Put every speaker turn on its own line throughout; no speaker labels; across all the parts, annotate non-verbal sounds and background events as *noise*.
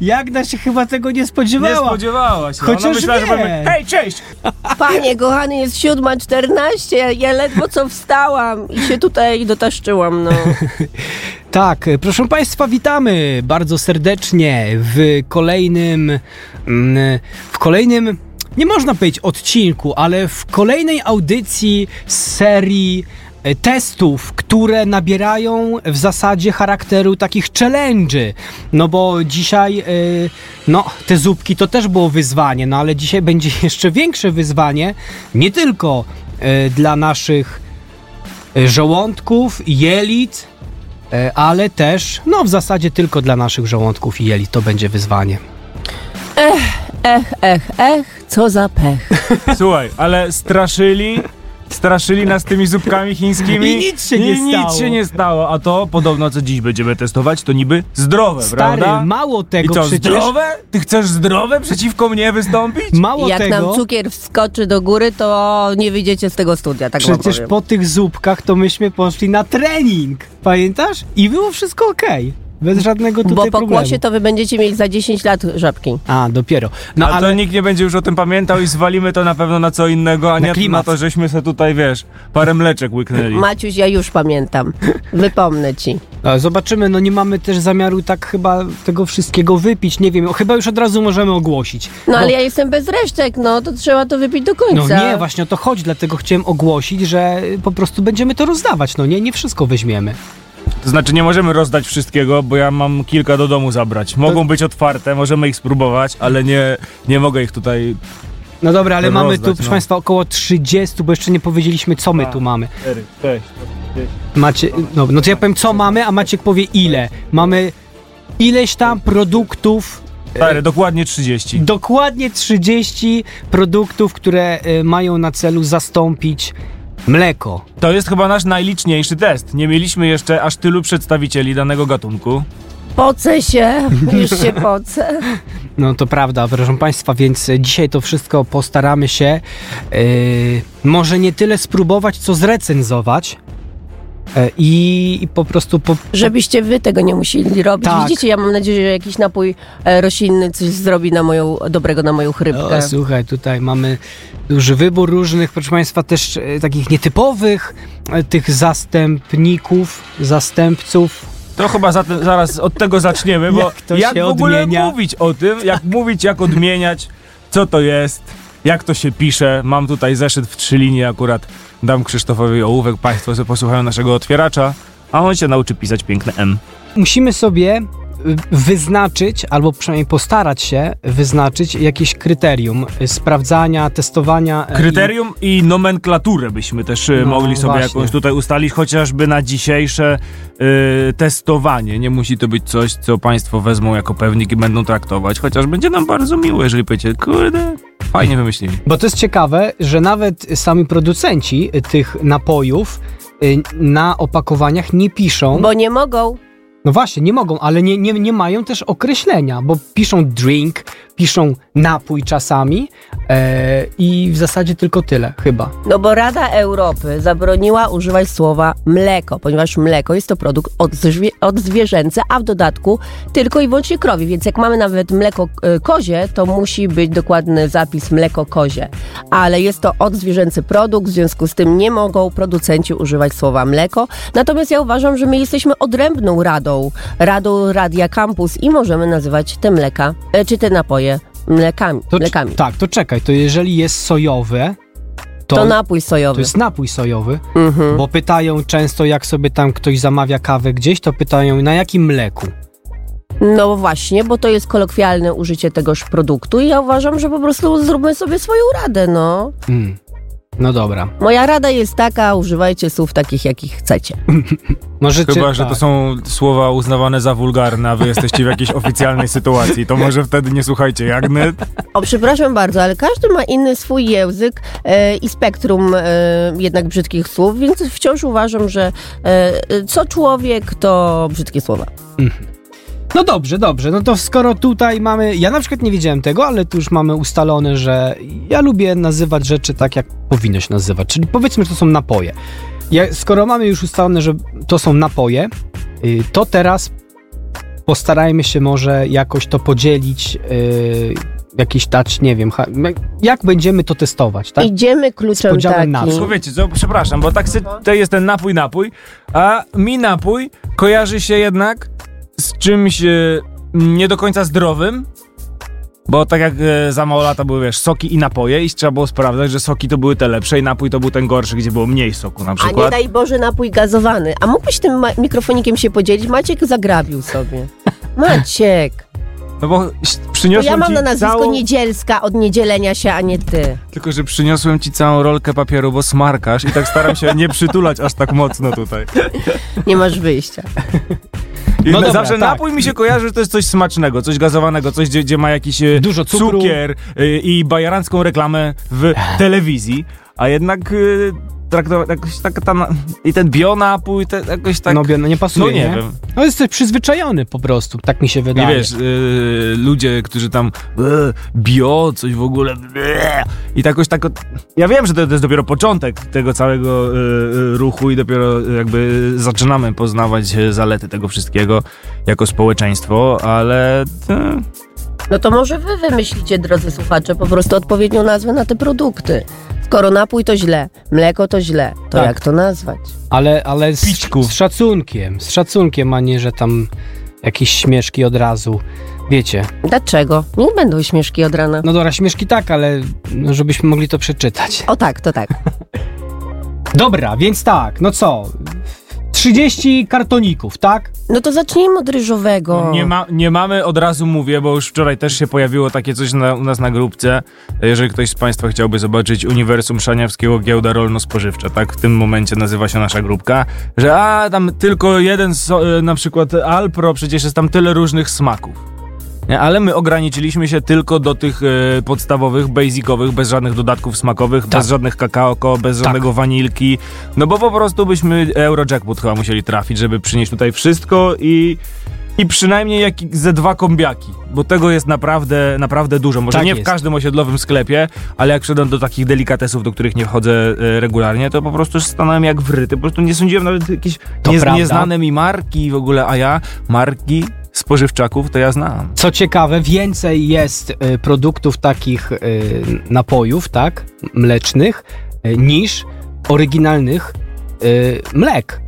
Jagna się chyba tego nie *laughs*
Nie
spodziewała.
spodziewałaś. się.
Chociaż
Ona myślała, że
wiem.
powiemy, hej, cześć!
Panie kochany, jest 7.14, ja, ja ledwo co wstałam i się tutaj dotaszczyłam, no.
Tak, proszę Państwa, witamy bardzo serdecznie w kolejnym. mm, W kolejnym. Nie można powiedzieć odcinku, ale w kolejnej audycji z serii e, testów, które nabierają w zasadzie charakteru takich challenge'y. No bo dzisiaj, e, no te zupki to też było wyzwanie, no ale dzisiaj będzie *laughs* jeszcze większe wyzwanie, nie tylko e, dla naszych e, żołądków, jelit, E, ale też, no w zasadzie tylko dla naszych żołądków i jelit to będzie wyzwanie.
Ech, ech, ech, co za pech.
Słuchaj, ale straszyli, straszyli nas tymi zupkami chińskimi.
I nic się nie
I nic
stało.
się nie stało, a to podobno, co dziś będziemy testować, to niby zdrowe,
Stary,
prawda?
mało
I
tego
co,
przecież...
zdrowe? Ty chcesz zdrowe przeciwko mnie wystąpić?
Mało
Jak
tego,
nam cukier wskoczy do góry, to nie wyjdziecie z tego studia, tak wam
przecież
powiem.
po tych zupkach to myśmy poszli na trening, pamiętasz? I było wszystko okej, bez żadnego
Bo
tutaj
po
problemu.
kłosie to wy będziecie mieć za 10 lat żabki.
A, dopiero. No
A
ale...
to nikt nie będzie już o tym pamiętał i zwalimy to na pewno na co innego, a
Na
nie
klimat.
na to, żeśmy se tutaj, wiesz, parę mleczek łyknęli.
Maciuś, ja już pamiętam. Wypomnę ci.
A, Zobaczymy, no nie mamy też zamiaru tak chyba tego wszystkiego wypić, nie wiem, chyba już od razu możemy ogłosić.
No ale
Bo-
ja jestem bez resztek, no to trzeba to wypić do końca.
No nie, właśnie o to chodzi, dlatego chciałem ogłosić, że po prostu będziemy to rozdawać, no nie, nie wszystko weźmiemy.
To znaczy nie możemy rozdać wszystkiego, bo ja mam kilka do domu zabrać. Mogą być otwarte, możemy ich spróbować, ale nie, nie mogę ich tutaj...
No dobra, ale mamy tu,
Rozdać, no.
proszę Państwa, około 30, bo jeszcze nie powiedzieliśmy, co my
Tak.
tu mamy.
4, 6,
Macie, no, no to ja powiem, co mamy, a Maciek powie ile. Mamy ileś tam produktów,
Stary, dokładnie 30.
dokładnie 30 produktów, które y, mają na celu zastąpić mleko.
To jest chyba nasz najliczniejszy test. Nie mieliśmy jeszcze aż tylu przedstawicieli danego gatunku.
Pocę się, już się pocę.
No to prawda, proszę Państwa, więc dzisiaj to wszystko postaramy się y, może nie tyle spróbować, co zrecenzować. y, I, I po prostu po,
Żebyście wy tego nie musieli robić.
Tak.
Widzicie, ja mam nadzieję, że jakiś napój e, roślinny coś zrobi na moją, dobrego na moją chrypkę.
O, No, słuchaj, tutaj mamy duży wybór różnych, proszę Państwa, też e, takich nietypowych e, tych zastępników, zastępców.
To chyba za zaraz od tego zaczniemy, bo
Jak
jak,
to się
w ogóle
odmienia?
mówić o tym, jak mówić, jak odmieniać, co to jest, jak to się pisze. Mam tutaj zeszyt w trzy linie akurat. Dam Krzysztofowi ołówek, państwo sobie posłuchają naszego otwieracza, a on się nauczy pisać piękne M.
Musimy sobie e, wyznaczyć, albo przynajmniej postarać się wyznaczyć jakieś kryterium e, sprawdzania, testowania. e,
Kryterium i nomenklaturę byśmy też y,
No,
mogli sobie
właśnie.
jakąś tutaj ustalić, chociażby na dzisiejsze y, testowanie. Nie musi to być coś, co państwo wezmą jako pewnik i będą traktować, chociaż będzie nam bardzo miło, jeżeli powiecie, kurde, fajnie wymyślili.
Bo to jest ciekawe, że nawet sami producenci e, tych napojów e, na opakowaniach nie piszą.
Bo nie mogą.
No właśnie, nie mogą, ale nie, nie, nie mają też określenia, bo piszą drink, piszą napój czasami e, i w zasadzie tylko tyle, chyba.
No bo Rada Europy zabroniła używać słowa mleko, ponieważ mleko jest to produkt od, zwie- od zwierzęce, a w dodatku tylko i wyłącznie krowi. Więc jak mamy nawet mleko y, kozie, to musi być dokładny zapis mleko kozie. Ale jest to odzwierzęcy produkt, w związku z tym nie mogą producenci używać słowa mleko. Natomiast ja uważam, że my jesteśmy odrębną radą, radą Radia Campus i możemy nazywać te mleka, y, czy te napoje mlekami.
To,
mlekami.
Tak, to czekaj, to jeżeli jest sojowe, to,
To, napój sojowy.
to jest napój sojowy,
Mhm.
bo pytają często, jak sobie tam ktoś zamawia kawę gdzieś, to pytają na jakim mleku.
No właśnie, bo to jest kolokwialne użycie tegoż produktu i ja uważam, że po prostu zróbmy sobie swoją radę, no.
Mm. No dobra.
Moja rada jest taka, używajcie słów takich, jakich chcecie.
Możecie,
Chyba, że
tak.
to są słowa uznawane za wulgarne, a wy jesteście w jakiejś oficjalnej sytuacji,
*laughs*
to może wtedy nie słuchajcie Jagny.
O, przepraszam bardzo, ale każdy ma inny swój język e, i spektrum e, jednak brzydkich słów, więc wciąż uważam, że e, e, co człowiek, to brzydkie słowa.
No dobrze, dobrze. No to skoro tutaj mamy. Ja na przykład nie wiedziałem tego, ale tu już mamy ustalone, że ja lubię nazywać rzeczy tak, jak powinno się nazywać. Czyli powiedzmy, że to są napoje. Ja, skoro mamy już ustalone, że to są napoje, y, to teraz postarajmy się może jakoś to podzielić, yy, jakiś dać, nie wiem, ha- jak będziemy to testować, tak?
Idziemy
Z
kluczem
podziałem
takim.
na
Tylko wiecie co, przepraszam, bo tak se, to jest ten napój, napój, a mi napój kojarzy się jednak z czymś e, nie do końca zdrowym, bo tak jak e, za mało lata były, wiesz, soki i napoje i trzeba było sprawdzać, że soki to były te lepsze i napój to był ten gorszy, gdzie było mniej soku na
A nie
przykład.
daj Boże napój gazowany. A mógłbyś tym ma- mikrofonikiem się podzielić? Maciek zagrabił
*laughs*
sobie. Maciek,
No bo ś-
to
przyniosłem
ja mam
ci
na nazwisko
całą...
Niedzielska od niedzielenia się, a nie ty.
Tylko, że przyniosłem ci całą rolkę papieru, bo smarkasz i tak staram się nie przytulać aż tak mocno tutaj.
Nie masz wyjścia.
I
No
na-
dobra,
zawsze
tak.
napój mi się kojarzy, że to jest coś smacznego, coś gazowanego, coś, gdzie, gdzie ma jakiś e,
Dużo cukru.
cukier e, i bajerancką reklamę w telewizji, a jednak y, traktować jakoś tak ta, na- i ten bionapój te, jakoś tak...
no, bio- no nie pasuje,
no nie wiem.
No jesteś przyzwyczajony po prostu, tak mi się
I
wydaje.
wiesz, y, ludzie, którzy tam e, bio, coś w ogóle e, i takoś tak... od- Ja wiem, że to, to jest dopiero początek tego całego e, e, ruchu i dopiero e, jakby zaczynamy poznawać e, zalety tego wszystkiego jako społeczeństwo, ale... e,
No to może wy wymyślicie, drodzy słuchacze, po prostu odpowiednią nazwę na te produkty. Skoro napój to źle, mleko to źle, to
Tak.
jak to nazwać?
Ale, ale z,
Pićku.
z szacunkiem, z szacunkiem, a nie, że tam jakieś śmieszki od razu. Wiecie,
Dlaczego? Niech będą śmieszki od rana.
no dobra, śmieszki tak, ale no, żebyśmy mogli to przeczytać.
O tak, to tak.
Dobra, więc tak, no co? 30 kartoników, tak?
No to zacznijmy od ryżowego.
No, Nie, ma, nie mamy, od razu mówię, bo już wczoraj też się pojawiło takie coś na, u nas na grupce. Jeżeli ktoś z Państwa chciałby zobaczyć Uniwersum Szaniawskiego Giełda Rolno-Spożywcza, tak w tym momencie nazywa się nasza grupka, że a, tam tylko jeden, so, e, na przykład Alpro, przecież jest tam tyle różnych smaków. Nie, Ale my ograniczyliśmy się tylko do tych e, podstawowych, basicowych, bez żadnych dodatków smakowych,
Tak.
bez żadnych kakaoko, bez żadnego wanilki. No bo po prostu byśmy Eurojackpot chyba musieli trafić, żeby przynieść tutaj wszystko i, i przynajmniej jak ze dwa kombiaki, bo tego jest naprawdę, naprawdę dużo. Może
Tak
nie w
jest.
każdym osiedlowym sklepie, ale jak wszedłem do takich delikatesów, do których nie wchodzę e, regularnie, to po prostu stanąłem jak wryty. Po prostu nie sądziłem nawet jakieś
To
nie,
prawda.
nieznane mi marki w ogóle, a ja marki spożywczaków to ja znam.
Co ciekawe, więcej jest y, produktów takich y, napojów, tak? Mlecznych, y, niż oryginalnych y, mlek.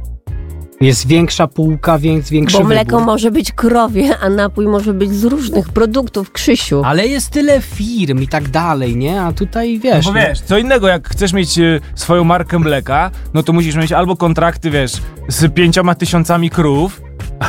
Jest większa półka, więc większy
Bo mleko
wybór.
może być krowie, a napój może być z różnych produktów, Krzysiu.
Ale jest tyle firm i tak dalej, nie? A tutaj wiesz.
No bo wiesz, co innego, jak chcesz mieć e, swoją markę mleka, no to musisz mieć albo kontrakty, wiesz, z pięcioma tysiącami krów,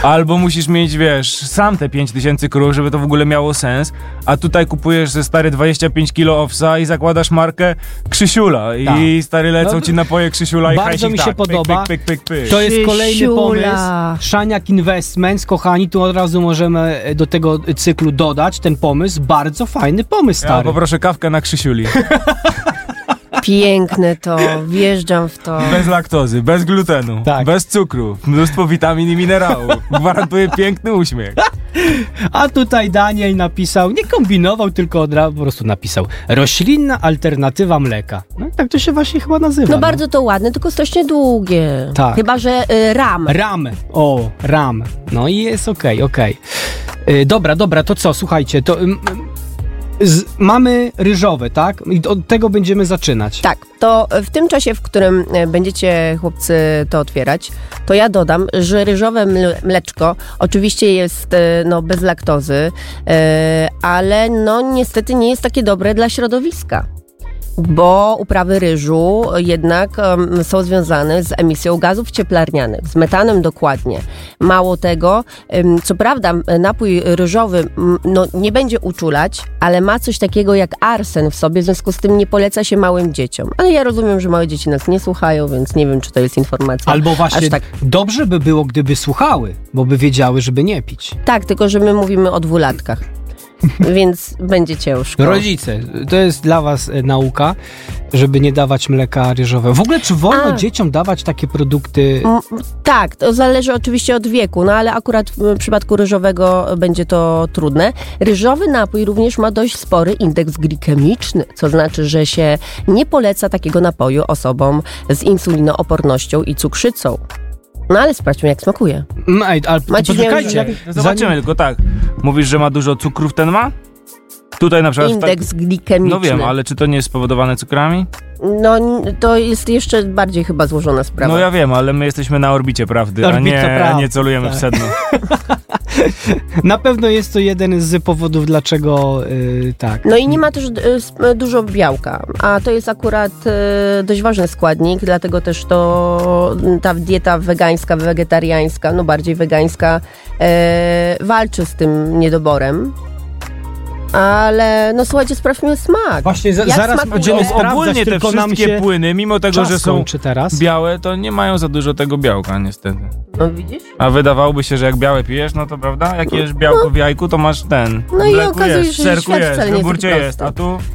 albo musisz mieć, wiesz, sam te pięć tysięcy krów, żeby to w ogóle miało sens, a tutaj kupujesz ze stary 25 kilo owsa i zakładasz markę Krzysiula i
Tak.
stary lecą
No,
ci napoje Krzysiula i
bardzo
hajsik
mi się
tak, pyk,
podoba.
Pyk, pyk, pyk, pyk.
To jest kolejny
Krzysiula.
pomysł. Szaniak Investments, kochani, tu od razu możemy e, do tego cyklu dodać ten pomysł. Bardzo fajny pomysł,
Ja
stary.
poproszę kawkę na Krzysiuli.
Piękne to, wjeżdżam w to.
Bez laktozy, bez glutenu,
Tak.
bez cukru, mnóstwo witamin i minerałów. Gwarantuje piękny uśmiech.
A tutaj Daniel napisał, nie kombinował, tylko od razu po prostu napisał. Roślinna alternatywa mleka. No i tak to się właśnie chyba nazywa.
No bardzo to ładne, tylko strasznie długie.
Tak.
Chyba, że y, ram.
Ram. O, ram. No i jest okej, okej. Y, Dobra, dobra, to co, słuchajcie, to... ym, ym, z, mamy ryżowe, tak? I od tego będziemy zaczynać.
Tak, to w tym czasie, w którym e, będziecie chłopcy to otwierać, to ja dodam, że ryżowe mle- mleczko oczywiście jest e, no, bez laktozy, e, ale no niestety nie jest takie dobre dla środowiska. Bo uprawy ryżu jednak em, są związane z emisją gazów cieplarnianych, z metanem dokładnie. Mało tego, em, co prawda m, napój ryżowy m, no, nie będzie uczulać, ale ma coś takiego jak arsen w sobie, w związku z tym nie poleca się małym dzieciom. Ale ja rozumiem, że małe dzieci nas nie słuchają, więc nie wiem, czy to jest informacja.
Albo właśnie
Aż tak.
dobrze by było, gdyby słuchały, bo by wiedziały, żeby nie pić.
Tak, tylko że my mówimy o dwulatkach, *laughs* więc będzie ciężko.
No. Rodzice, to jest dla was e, nauka, żeby nie dawać mleka ryżowego. W ogóle czy wolno
A.
dzieciom dawać takie produkty?
M- Tak, to zależy oczywiście od wieku, no ale akurat w przypadku ryżowego będzie to trudne. Ryżowy napój również ma dość spory indeks glikemiczny, co znaczy, że się nie poleca takiego napoju osobom z insulinoopornością i cukrzycą. No ale sprawdźmy, jak smakuje.
Mm, Ej, ale
Maciej,
poczekajcie.
miałem-
No zobaczymy,
Zanim-
tylko tak. Mówisz, że ma dużo cukrów ten ma? Tutaj na przykład... w
Indeks
Tak,
glikemiczny.
no wiem, ale czy to nie jest spowodowane cukrami?
No n- to jest jeszcze bardziej chyba złożona sprawa.
No ja wiem, ale my jesteśmy na orbicie prawdy, a
Orbita
nie,
prawdy,
nie celujemy
tak.
w sedno.
Na pewno jest to jeden z powodów, dlaczego y, tak.
No i nie ma też y, sp- dużo białka, a to jest akurat y, dość ważny składnik, dlatego też to y, ta dieta wegańska, wegetariańska, no bardziej wegańska, y, walczy z tym niedoborem. Ale no słuchajcie, sprawdźmy smak.
Właśnie za,
Jak
zaraz
smakuje?
będziemy
O-
No, sprawdzać,
Ogólnie te
tylko nam
wszystkie
się
płyny, mimo tego,
czas
że są
kończy teraz.
białe, to nie mają za dużo tego białka niestety.
No widzisz?
A wydawałoby się, że jak białe pijesz, no to prawda? Jak jesz białko w jajku, to masz ten.
No i
mleku
okazuje się,
jest,
że
w serku
świat
jest,
wcale
w
nie jest
jogurcie
taki
jest, a
prosty.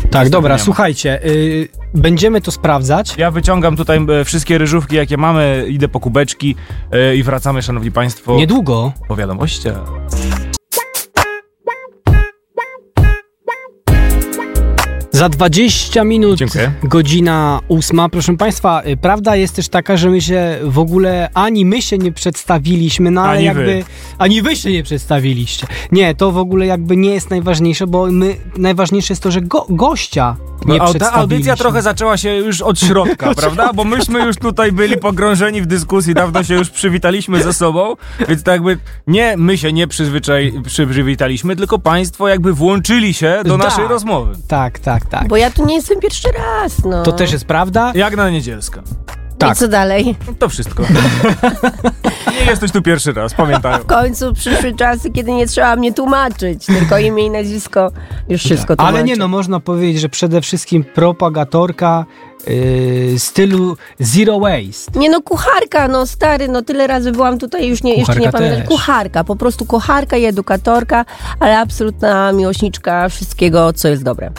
tu
Tak, dobra,
Nie ma.
słuchajcie, y, będziemy to sprawdzać.
ja wyciągam tutaj e, wszystkie ryżówki, jakie mamy, idę po kubeczki e, i wracamy, szanowni państwo,
Niedługo.
po wiadomościach.
Za 20 minut,
Dziękuję.
godzina ósma. Proszę Państwa, y, prawda jest też taka, że my się w ogóle ani my się nie przedstawiliśmy, no ale
Ani
jakby.
wy.
Ani wy się nie przedstawiliście. Nie, to w ogóle jakby nie jest najważniejsze, bo my najważniejsze jest to, że go, gościa nie
No, a ta
przedstawiliśmy.
audycja trochę zaczęła się już od *laughs* środka, prawda? Bo myśmy już tutaj byli pogrążeni w dyskusji, dawno się już przywitaliśmy ze sobą, więc tak jakby nie my się nie przyzwyczaj, przy, przywitaliśmy, tylko państwo jakby włączyli się do
Tak.
naszej rozmowy.
Tak, tak, tak.
Bo ja tu nie jestem pierwszy raz, no.
To też jest prawda.
Jak na niedzielska.
tak.
I co dalej?
To wszystko. *laughs* nie jesteś tu pierwszy raz, pamiętaj.
W końcu przyszły czasy, kiedy nie trzeba mnie tłumaczyć, tylko imię i nazwisko, już wszystko tłumaczę.
Ale nie, no można powiedzieć, że przede wszystkim propagatorka y, stylu zero waste.
Nie no, kucharka, no stary, no tyle razy byłam tutaj, już nie, jeszcze nie
Kucharka
pamiętam.
też.
Kucharka, po prostu kucharka i edukatorka, ale absolutna miłośniczka wszystkiego, co jest
*laughs*
dobre.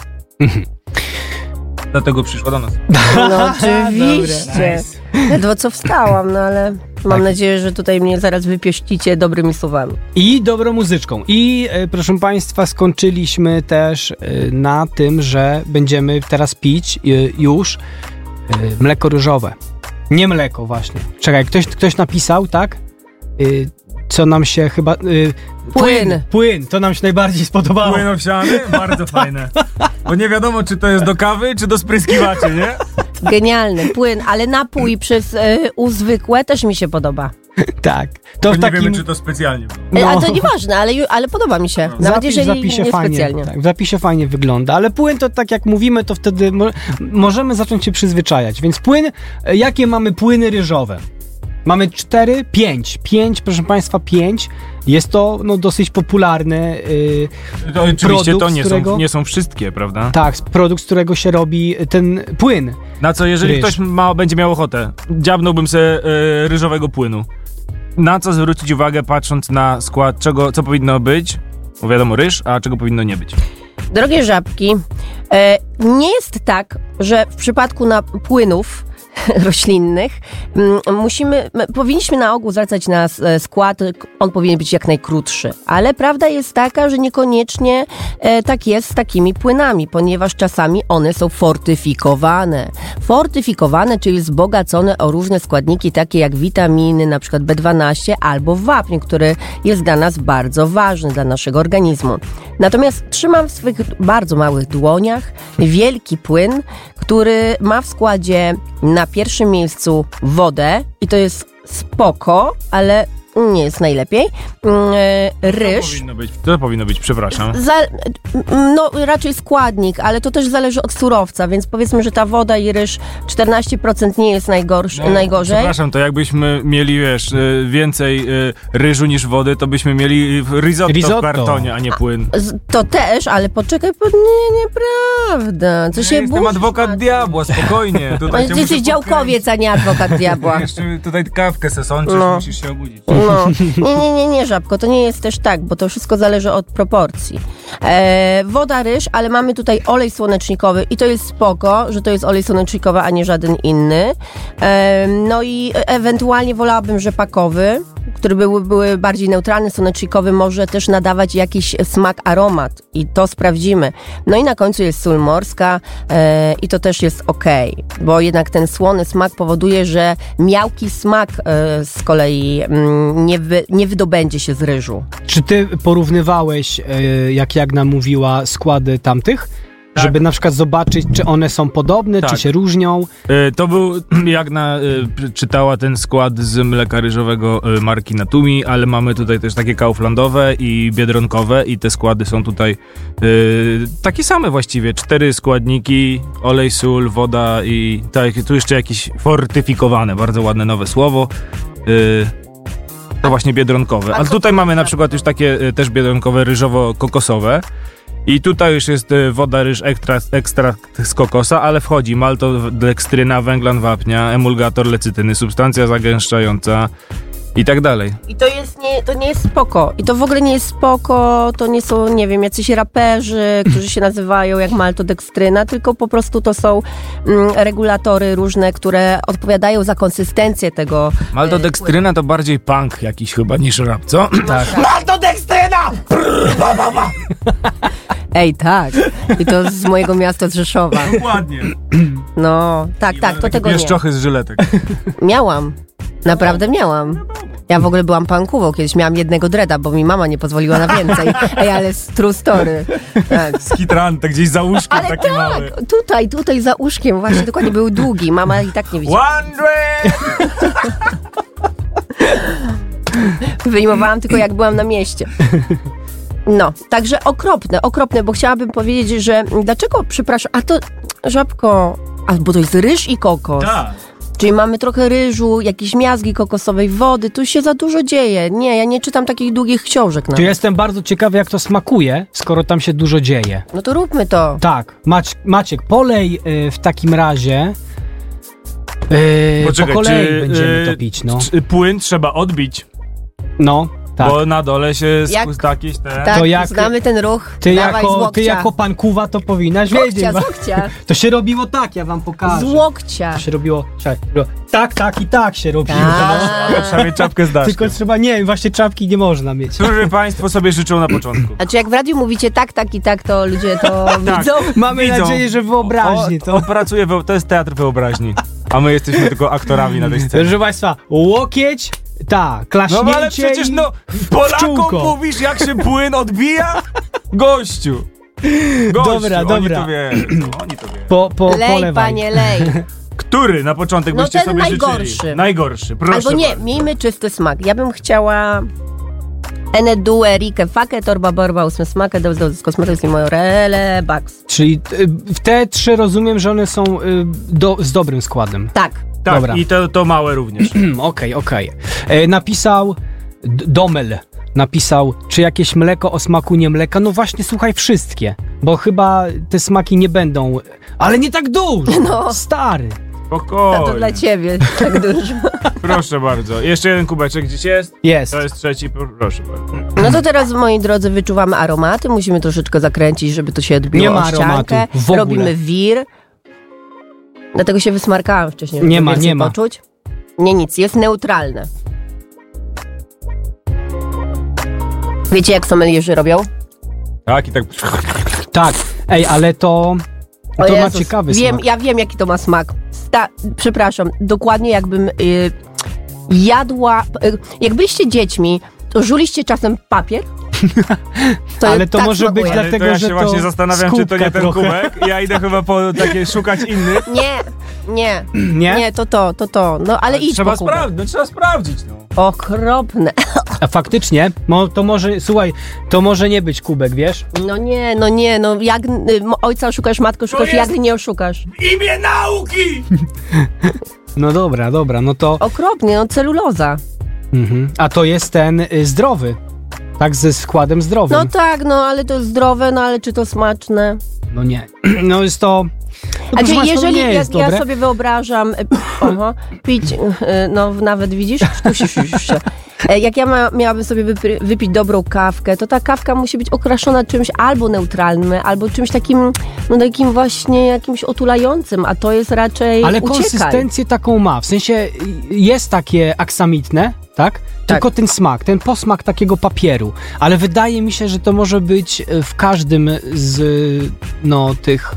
Dlatego przyszła do nas.
No oczywiście. Ledwo co wstałam, no ale
Tak.
mam nadzieję, że tutaj mnie zaraz wypieścicie dobrymi słowami.
I dobrą muzyczką. I e, proszę Państwa, skończyliśmy też e, na tym, że będziemy teraz pić e, już e, mleko różowe. Nie mleko, właśnie. Czekaj, ktoś, ktoś napisał, tak? E, co nam się chyba. e,
Płyn.
Płyn, to nam się najbardziej spodobało.
Płyn owsiany? Bardzo fajne. Bo nie wiadomo, czy to jest do kawy, czy do spryskiwaczy, nie?
Genialny płyn, ale napój przez y, uzwykłe też mi się podoba.
Tak. To
Bo
w
nie
takim.
wiemy, czy to specjalnie było.
No. A to nieważne, ale, ju- ale podoba mi się. Nawet jeżeli nie
fajnie,
specjalnie.
tak, w zapisie fajnie wygląda, ale płyn to tak jak mówimy, to wtedy mo- możemy zacząć się przyzwyczajać. Więc płyn, e, jakie mamy płyny ryżowe? Mamy cztery, pięć, pięć, proszę Państwa, pięć. Jest to no, dosyć popularny y,
To oczywiście
Produkt,
to nie,
z którego-
są, nie są wszystkie, prawda?
tak, produkt, z którego się robi ten płyn.
Na co, jeżeli
Ryż.
ktoś ma, będzie miał ochotę, dziabnąłbym sobie e, ryżowego płynu. Na co zwrócić uwagę, patrząc na skład, czego, co powinno być? Bo wiadomo, ryż, a czego powinno nie być.
Drogie żabki, e, nie jest tak, że w przypadku na płynów *laughs* roślinnych mm, musimy, m- powinniśmy na ogół zwracać na s- e, skład, k- on powinien być jak najkrótszy, ale prawda jest taka, że niekoniecznie e, tak jest z takimi płynami, ponieważ czasami one są fortyfikowane. Fortyfikowane, czyli wzbogacone o różne składniki takie jak witaminy, na przykład B12 albo wapń, który jest dla nas bardzo ważny, dla naszego organizmu. Natomiast trzymam w swych bardzo małych dłoniach wielki płyn, który ma w składzie na pierwszym miejscu wodę i to jest spoko, ale nie jest najlepiej. Mm, e,
To
Ryż.
powinno być, to powinno być przepraszam.
Za, no, raczej składnik, ale to też zależy od surowca, więc powiedzmy, że ta woda i ryż 14% nie jest najgorsz,
No,
najgorzej.
Przepraszam, to jakbyśmy mieli, wiesz, y, więcej y, ryżu niż wody, to byśmy mieli y, risotto,
Risotto.
w kartonie, a nie płyn.
Z- To też, ale poczekaj, po... nie, nieprawda. Co się
ja jestem
budzisz,
adwokat
Maciek?
diabła,
*laughs*
spokojnie.
No,
Tutaj cię
Ty jesteś
muszę
działkowiec, a nie
*laughs*
adwokat diabła.
podkręcić. Jeszcze tutaj kawkę se sączysz,
No.
musisz się obudzić.
No. Nie, nie, nie, nie, żabko, to nie jest też tak, bo to wszystko zależy od proporcji. E, woda, ryż, ale mamy tutaj olej słonecznikowy i to jest spoko, że to jest olej słonecznikowy, a nie żaden inny. E, no i ewentualnie wolałabym rzepakowy. które były, były bardziej neutralne, słonecznikowy może też nadawać jakiś smak, aromat i to sprawdzimy. No i na końcu jest sól morska e, i to też jest ok, bo jednak ten słony smak powoduje, że miałki smak e, z kolei mm, nie, wy, nie wydobędzie się z ryżu.
Czy ty porównywałeś, e, jak Jagna mówiła, składy tamtych?
Tak.
Żeby na przykład zobaczyć, czy one są podobne,
Tak.
czy się różnią.
E, To był, *clears throat* jak na, e, p- czytała ten skład z mleka ryżowego e, marki Natumi, ale mamy tutaj też takie kauflandowe i biedronkowe i te składy są tutaj e, takie same właściwie. Cztery składniki, olej, sól, woda i tak, tu jeszcze jakieś fortyfikowane, bardzo ładne nowe słowo. E, To właśnie biedronkowe.
a
Ale
co-
tutaj mamy na przykład już takie e, też biedronkowe, ryżowo-kokosowe. I tutaj już jest y, woda, ryż, ekstrakt, ekstrakt z kokosa, ale wchodzi malto, dekstryna, węglan wapnia, emulgator lecytyny, substancja zagęszczająca i tak dalej.
I to jest nie, to nie jest spoko. I to w ogóle nie jest spoko, to nie są, nie wiem, jacyś raperzy, którzy się nazywają jak maltodekstryna, tylko po prostu to są mm, regulatory różne, które odpowiadają za konsystencję tego.
Maltodekstryna to bardziej punk jakiś chyba niż rap, co?
Tak.
Ej, tak. I to z mojego miasta z Rzeszowa.
Ładnie.
No, tak, tak, to tego nie.
Pieszczochy z żyletek.
Miałam. Naprawdę miałam. Ja w ogóle byłam pankową, kiedyś miałam jednego dreda, bo mi mama nie pozwoliła na więcej. Ej, ale s- true story. Tak.
Skitrante gdzieś za łóżkiem
Ale
taki
tak,
mały.
tutaj, tutaj za uszkiem, właśnie dokładnie był długi. Mama i tak nie widziała.
One dread!
Wyjmowałam tylko jak byłam na mieście. No, także okropne, okropne, bo chciałabym powiedzieć, że dlaczego, przepraszam, a to żabko, a bo to jest ryż i kokos.
*laughs* Tak.
Czyli mamy trochę ryżu, jakieś miazgi kokosowej wody, tu się za dużo dzieje. Nie, ja nie czytam takich długich książek.
Czy
Nawet.
jestem bardzo ciekawy, jak to smakuje, skoro tam się dużo dzieje.
No to róbmy to.
Tak, Mac- Maciek, polej y, w takim razie. Yy, po
Poczekaj,
kolei
czy,
będziemy
e,
to pić, no.
czy Płyn trzeba odbić,
No, tak.
bo na dole się
Jak-
skus jakiś ten...
Tak,
to jak-
znamy ten ruch.
Ty
Dawaj z
jako,
łokcia.
ty jako pankuwa to powinnaś
z
wiedzieć.
łokcia,
bo-
z łokcia,
To się robiło tak, ja wam pokażę.
z łokcia.
To się robiło, czekaj, robiło tak, tak i tak się robiło. No.
Tak.
Trzeba mieć czapkę z daszkiem.
Tylko trzeba, nie wiem, właśnie czapki nie można mieć.
Którzy państwo sobie życzą na
*laughs*
początku?
Znaczy jak w radiu mówicie tak, tak i tak, to ludzie
*laughs*
to widzą.
Mamy
Widzą.
nadzieję, że wyobraźni
O,
to.
opracuje, wyo- to jest teatr wyobraźni. A my jesteśmy tylko aktorami na tej scenie.
Proszę państwa, łokieć, tak,
No
klaśnięcie
ale przecież
i-
no,
czółko.
Polakom mówisz jak się płyn odbija? Gościu. Gościu,
Dobra,
oni
dobra.
To wiedzą, oni to wiedzą.
Po, po,
Lej,
polewaj.
panie,
*laughs*
lej.
Który na początek
No
byście
ten
sobie
najgorszy.
życzyli? Najgorszy, proszę
Albo nie,
bardzo.
miejmy czysty smak. Ja bym chciała... Ene due rike fake torba borba usme smake do do kosmetyk i moje rele baks.
Czyli y, w te trzy rozumiem, że one są y, do, z dobrym składem. *clears throat*
Tak.
Tak,
Dobra.
i to, to małe
*clears throat*
również.
Hmm, Okej, okej. E, Napisał D- Domel. Napisał, czy jakieś mleko o smaku nie mleka? No właśnie, słuchaj, wszystkie. Bo chyba te smaki nie będą. Ale nie tak dużo!
*laughs* No.
Stary!
To, to dla
Spokojnie.
ciebie tak dużo.
Proszę bardzo. Jeszcze jeden kubeczek gdzieś jest?
Jest.
To jest trzeci, proszę bardzo.
No to teraz, moi drodzy, wyczuwamy aromaty. Musimy troszeczkę zakręcić, żeby to się odbiło
Nie ma
o ściankę.
aromatu, w ogóle.
Robimy wir. Dlatego się wysmarkałam wcześniej. żeby
Nie ma,
więcej
nie ma.
Poczuć. Nie, nic. Jest neutralne. Wiecie, jak somelierzy robią?
Tak i tak...
Tak. Ej, ale to.
O
To ma
Jezus,
ciekawy
wiem,
smak.
Ja wiem, jaki to ma smak. Sta- przepraszam, dokładnie jakbym y, jadła... Y, jak byliście dziećmi, to żuliście czasem
*laughs*
papier? To
Ale to
tak
może być
smakuje.
dla-
Ale
Dlatego,
to ja się
że to
właśnie zastanawiam, czy to
skupka
nie ten
trochę.
kubek. Ja idę chyba po takie szukać innych.
Nie, nie,
*clears throat* Nie?
nie, to to, to to. No ale idź
trzeba
po kubek.
sprawdzić, no, trzeba sprawdzić. No.
Okropne.
A faktycznie, mo, to może, słuchaj, to może nie być kubek, wiesz?
No nie, no nie, no jak y, mo- ojca oszukasz, matko oszukasz,
jest-
jak nie oszukasz.
Imię nauki!
No dobra, dobra, no to.
Okropnie, no celuloza.
Mhm. A to jest ten y, zdrowy. Tak, ze składem zdrowym.
Mhm.
*clears throat*
No tak, no ale to zdrowe, no ale czy to smaczne?
No nie. No jest to. to proszę
znaczy,
Państwa,
jeżeli
nie
ja,
jest
ja
dobre.
sobie wyobrażam e, oho, pić, e, no nawet widzisz, kusisz już się. E, Jak ja ma, miałabym sobie wypry- wypić dobrą kawkę, to ta kawka musi być okraszona czymś albo neutralnym, albo czymś takim, no takim właśnie jakimś otulającym, a to jest raczej
Ale
uciekaj.
konsystencję taką ma. W sensie y, jest takie aksamitne, tak? Tylko ten smak, ten posmak takiego papieru. Ale wydaje mi się, że to może być y, w każdym z y, no, tych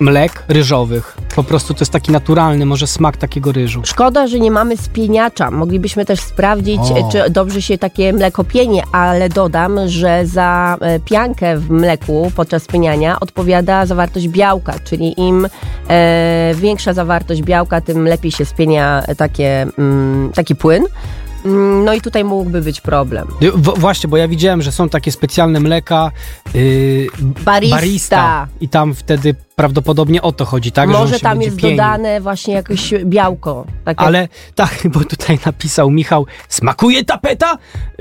mlek ryżowych. Po prostu to jest taki naturalny może smak takiego ryżu.
Szkoda, że nie mamy spieniacza. Moglibyśmy też sprawdzić,
O.
e, czy dobrze się takie mleko pienie, ale dodam, że za e, piankę w mleku podczas pieniania odpowiada zawartość białka, czyli im e, większa zawartość białka, tym lepiej się spienia e, takie, mm, taki płyn. Mm, No i tutaj mógłby być problem.
Y, W, właśnie, bo ja widziałem, że są takie specjalne mleka y,
Barista.
I tam wtedy prawdopodobnie o to chodzi, tak? Że on
Może
się
tam
będzie
jest
pienił.
dodane właśnie jakieś białko. Takie
Ale tak, *laughs* bo tutaj napisał Michał, smakuje tapeta?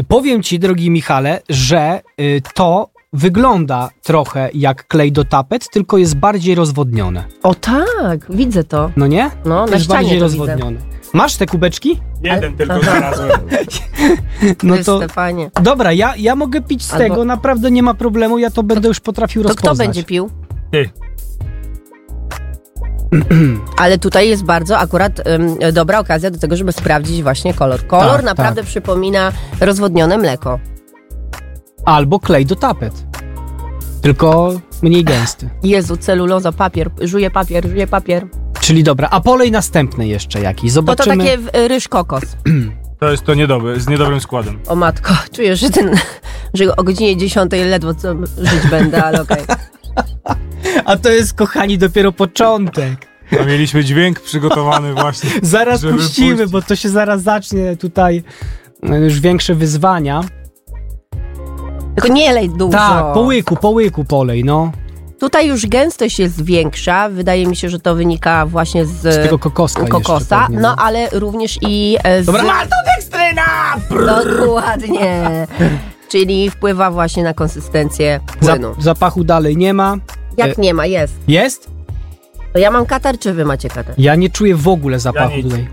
Powiem ci, drogi Michale, że y, to wygląda trochę jak klej do tapet, tylko jest bardziej rozwodnione.
O tak, widzę to.
No nie?
No, na
jest
ścianie
bardziej
to widzę.
rozwodnione. Masz te kubeczki?
Jeden tylko
Aha.
znalazłem.
No
Ty,
to
Stefanie.
dobra, ja, ja mogę pić z
Albo-
tego, naprawdę nie ma problemu, ja to będę już potrafił
To kto
rozpoznać.
będzie pił?
Ty.
*clears throat* Ale tutaj jest bardzo akurat ym, dobra okazja do tego, żeby sprawdzić właśnie kolor. Kolor
Tak,
naprawdę przypomina rozwodnione mleko.
Albo klej do tapet. Tylko mniej gęsty.
Jezu, celuloza, papier, żuje papier, żuje papier.
Czyli dobra, a polej następny jeszcze jakiś.
Bo to
Zobaczymy.
takie w- e, ryż kokos.
To jest to niedobre, z niedobrym składem.
O matko, *laughs* czuję, że ten, że o godzinie 10 ledwo co żyć będę,
*laughs*
ale okej.
A to jest, kochani, dopiero początek.
A mieliśmy dźwięk przygotowany
*laughs*
właśnie.
Zaraz
żeby
puścimy,
puścić.
bo to się zaraz zacznie tutaj e, już większe wyzwania.
Tylko nie lej dużo.
Tak, po łyku, po łyku polej, no.
Tutaj już gęstość jest większa. Wydaje mi się, że to wynika właśnie z,
Z tego kokoska jeszcze
E, kokosa,
pewnie,
no ale również i e, z...
Dobra, Malto Dextryna!
Dokładnie. Czyli wpływa właśnie na konsystencję płynu.
Za, zapachu dalej nie ma.
Jak nie ma, jest.
Jest?
To ja mam katar, czy wy macie katar?
Ja nie czuję w ogóle zapachu
nic.
tutaj.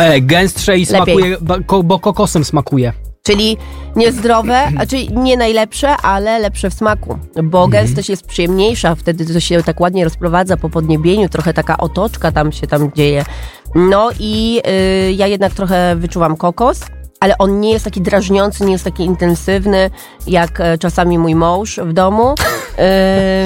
E, gęstsze i smakuje, ba- ko, bo kokosem smakuje.
Czyli niezdrowe, znaczy nie najlepsze, ale lepsze w smaku.
Mhm.
Bo gęstość jest przyjemniejsza, wtedy to się tak ładnie rozprowadza po podniebieniu, trochę taka otoczka tam się tam dzieje. No i y, ja jednak trochę wyczuwam kokos, ale on nie jest taki drażniący, nie jest taki intensywny, jak e, czasami mój mąż w
*laughs*
domu.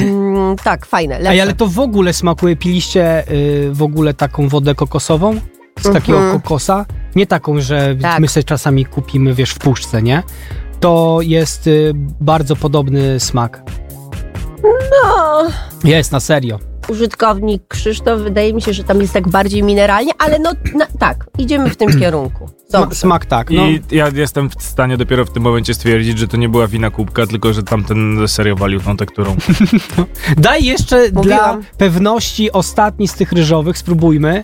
Ym, tak, fajne, lepsze.
Ej, ale to w ogóle smakuje, piliście y, w ogóle taką wodę kokosową z takiego
Mhm.
kokosa, nie taką, że
Tak.
my sobie czasami kupimy, wiesz, w puszce, nie? To jest y, bardzo podobny smak.
O,
Jest, na serio.
użytkownik Krzysztof, wydaje mi się, że tam jest tak bardziej mineralnie, ale no na, tak, idziemy w
*clears throat*
tym kierunku.
Smak,
Dobrze.
smak tak, no.
I ja jestem w stanie dopiero w tym momencie stwierdzić, że to nie była wina kubka, tylko że tamten serio walił tą
*laughs*
tekturą.
Daj jeszcze dla
Mówiłam.
pewności ostatni z tych ryżowych, spróbujmy.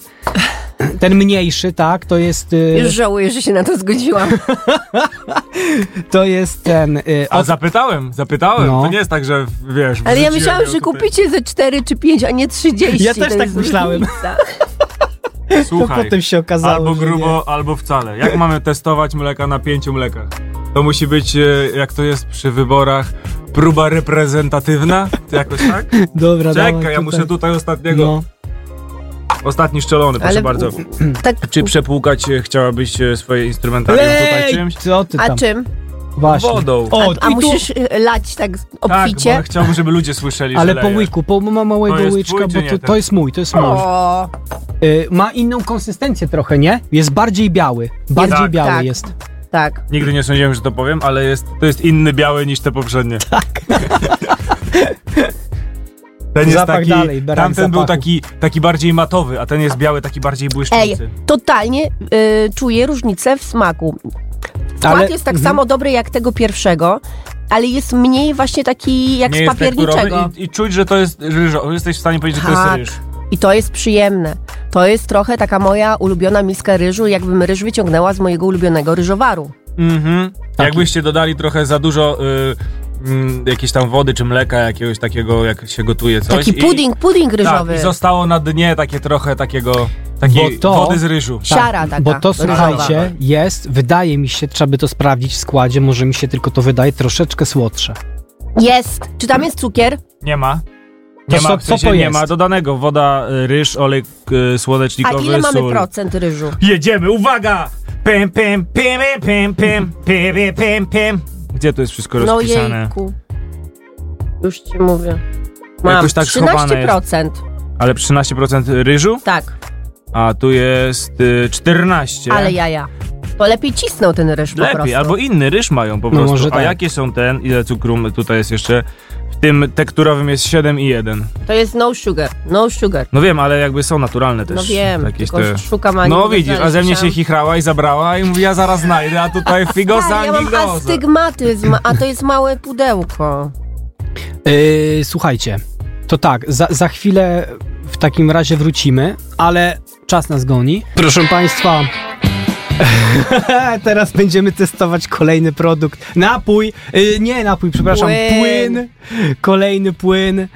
Ten mniejszy, tak, to jest, y,
Już żałuję, że się na to
*laughs*
zgodziłam.
to jest ten... Y,
A
od-
zapytałem, zapytałem.
No.
To nie jest tak, że w- wiesz.
Ale ja
wrzuciłem
myślałam,
ją
że
tutaj.
kupicie ze 4 czy 5, a nie 30.
Ja też
To
tak
jest
myślałem. *clears throat*
różnica.
to
Słuchaj,
potem się okazało,
albo
że nie.
grubo, albo wcale. Jak mamy testować mleka na pięciu mlekach? To musi być, e, jak to jest przy wyborach, próba reprezentatywna? To jakoś
*laughs*
tak?
Dobra, dawaj
Czekaj, ja
tutaj.
muszę tutaj ostatniego.
No.
Ostatni szczelony, proszę
Ale-
bardzo.
Tak,
Czy przepłukać e, chciałabyś e, swoje instrumentarium tutaj
Ej,
czymś?
co ty tam?
a czym?
Właśnie.
Wodą.
O,
A
i tu,
musisz y, lać tak
Tak,
obficie?
bo chciałbym, żeby ludzie słyszeli,
ale
że
po
lejesz.
łyku, po ma małego
To jest
łyczka,
twój, czy
bo
nie
to,
ten?
to jest mój, to jest mój.
o,
Y, ma inną konsystencję trochę, nie? Jest bardziej biały. Bardziej
Tak.
biały
Tak.
jest.
tak.
Nigdy nie sądziłem, że to powiem, ale jest, to jest inny biały niż te
*laughs*
poprzednie. Tak. *laughs* Ten jest
Zapach
taki,
dalej, brak
tamten był
zapachu.
taki, taki bardziej matowy, a ten jest biały, taki bardziej
Ej,
błyszczący.
totalnie y, czuję różnicę w smaku. Skład
Ale-
jest tak
mhm.
samo dobry jak tego pierwszego, ale jest mniej właśnie taki jak z
tak
jest
papierniczego.
tekturowy I, I czuć, że to jest ryżo. Jesteś w stanie powiedzieć, że to
Tak.
jest ryż.
I to jest przyjemne. To jest trochę taka moja ulubiona miska ryżu, jakbym ryż wyciągnęła z mojego ulubionego ryżowaru.
Mhm. Jakbyście dodali trochę za dużo y, mm, jakiejś tam wody czy mleka jakiegoś takiego, jak się gotuje coś.
Taki
i-
pudding, pudding ryżowy.
Tak, i zostało na dnie takie trochę takiego, takiej
Bo to- Tak.
wody z ryżu.
Siara taka.
Bo to,
ryżowa.
słuchajcie, jest, wydaje mi się, trzeba by to sprawdzić w składzie, może mi się tylko to wydaje, troszeczkę słodsze.
Jest. Czy tam jest cukier?
Nie ma.
To
Nie ma,
co-
w
co
sensie
to
nie
jest?
ma dodanego. Woda, y, ryż, olej y,
A
słonecznikowy,
ile mamy
sól.
procent ryżu?
Jedziemy, uwaga! Pim, pim, pim, pim, pim, pim, pim, pim, pim. Gdzie to jest wszystko
No
rozpisane?
jejku. Już ci mówię. Mam
Jakoś tak schowane jest.
13%.
Ale 13% ryżu,
Tak,
a tu jest y, 14.
ale jaja. Bo lepiej cisnął ten ryż po
Lepiej,
prostu.
albo inny ryż mają po
No
prostu.
może
a
tak.
jakie są ten, ile cukru tutaj jest jeszcze? W tym tekturowym jest 7 i 1.
To jest no sugar, no sugar.
No wiem, ale jakby są naturalne też.
No wiem,
jakieś
tylko
te...
szukam ani
No
nie
widzisz, a ze mnie się
znaleźliśmy.
chichrała i zabrała i mówi, ja zaraz znajdę, a
*laughs*
tutaj figosa,
Tak, ja mam
migosa.
astygmatyzm, a to jest małe pudełko.
Yy, słuchajcie, to tak, za, za chwilę w takim razie wrócimy, ale czas nas goni. Proszę Państwa. *laughs* Teraz będziemy testować kolejny produkt. Napój, yy, nie napój, przepraszam,
Płyn.
płyn. Kolejny płyn. Yy,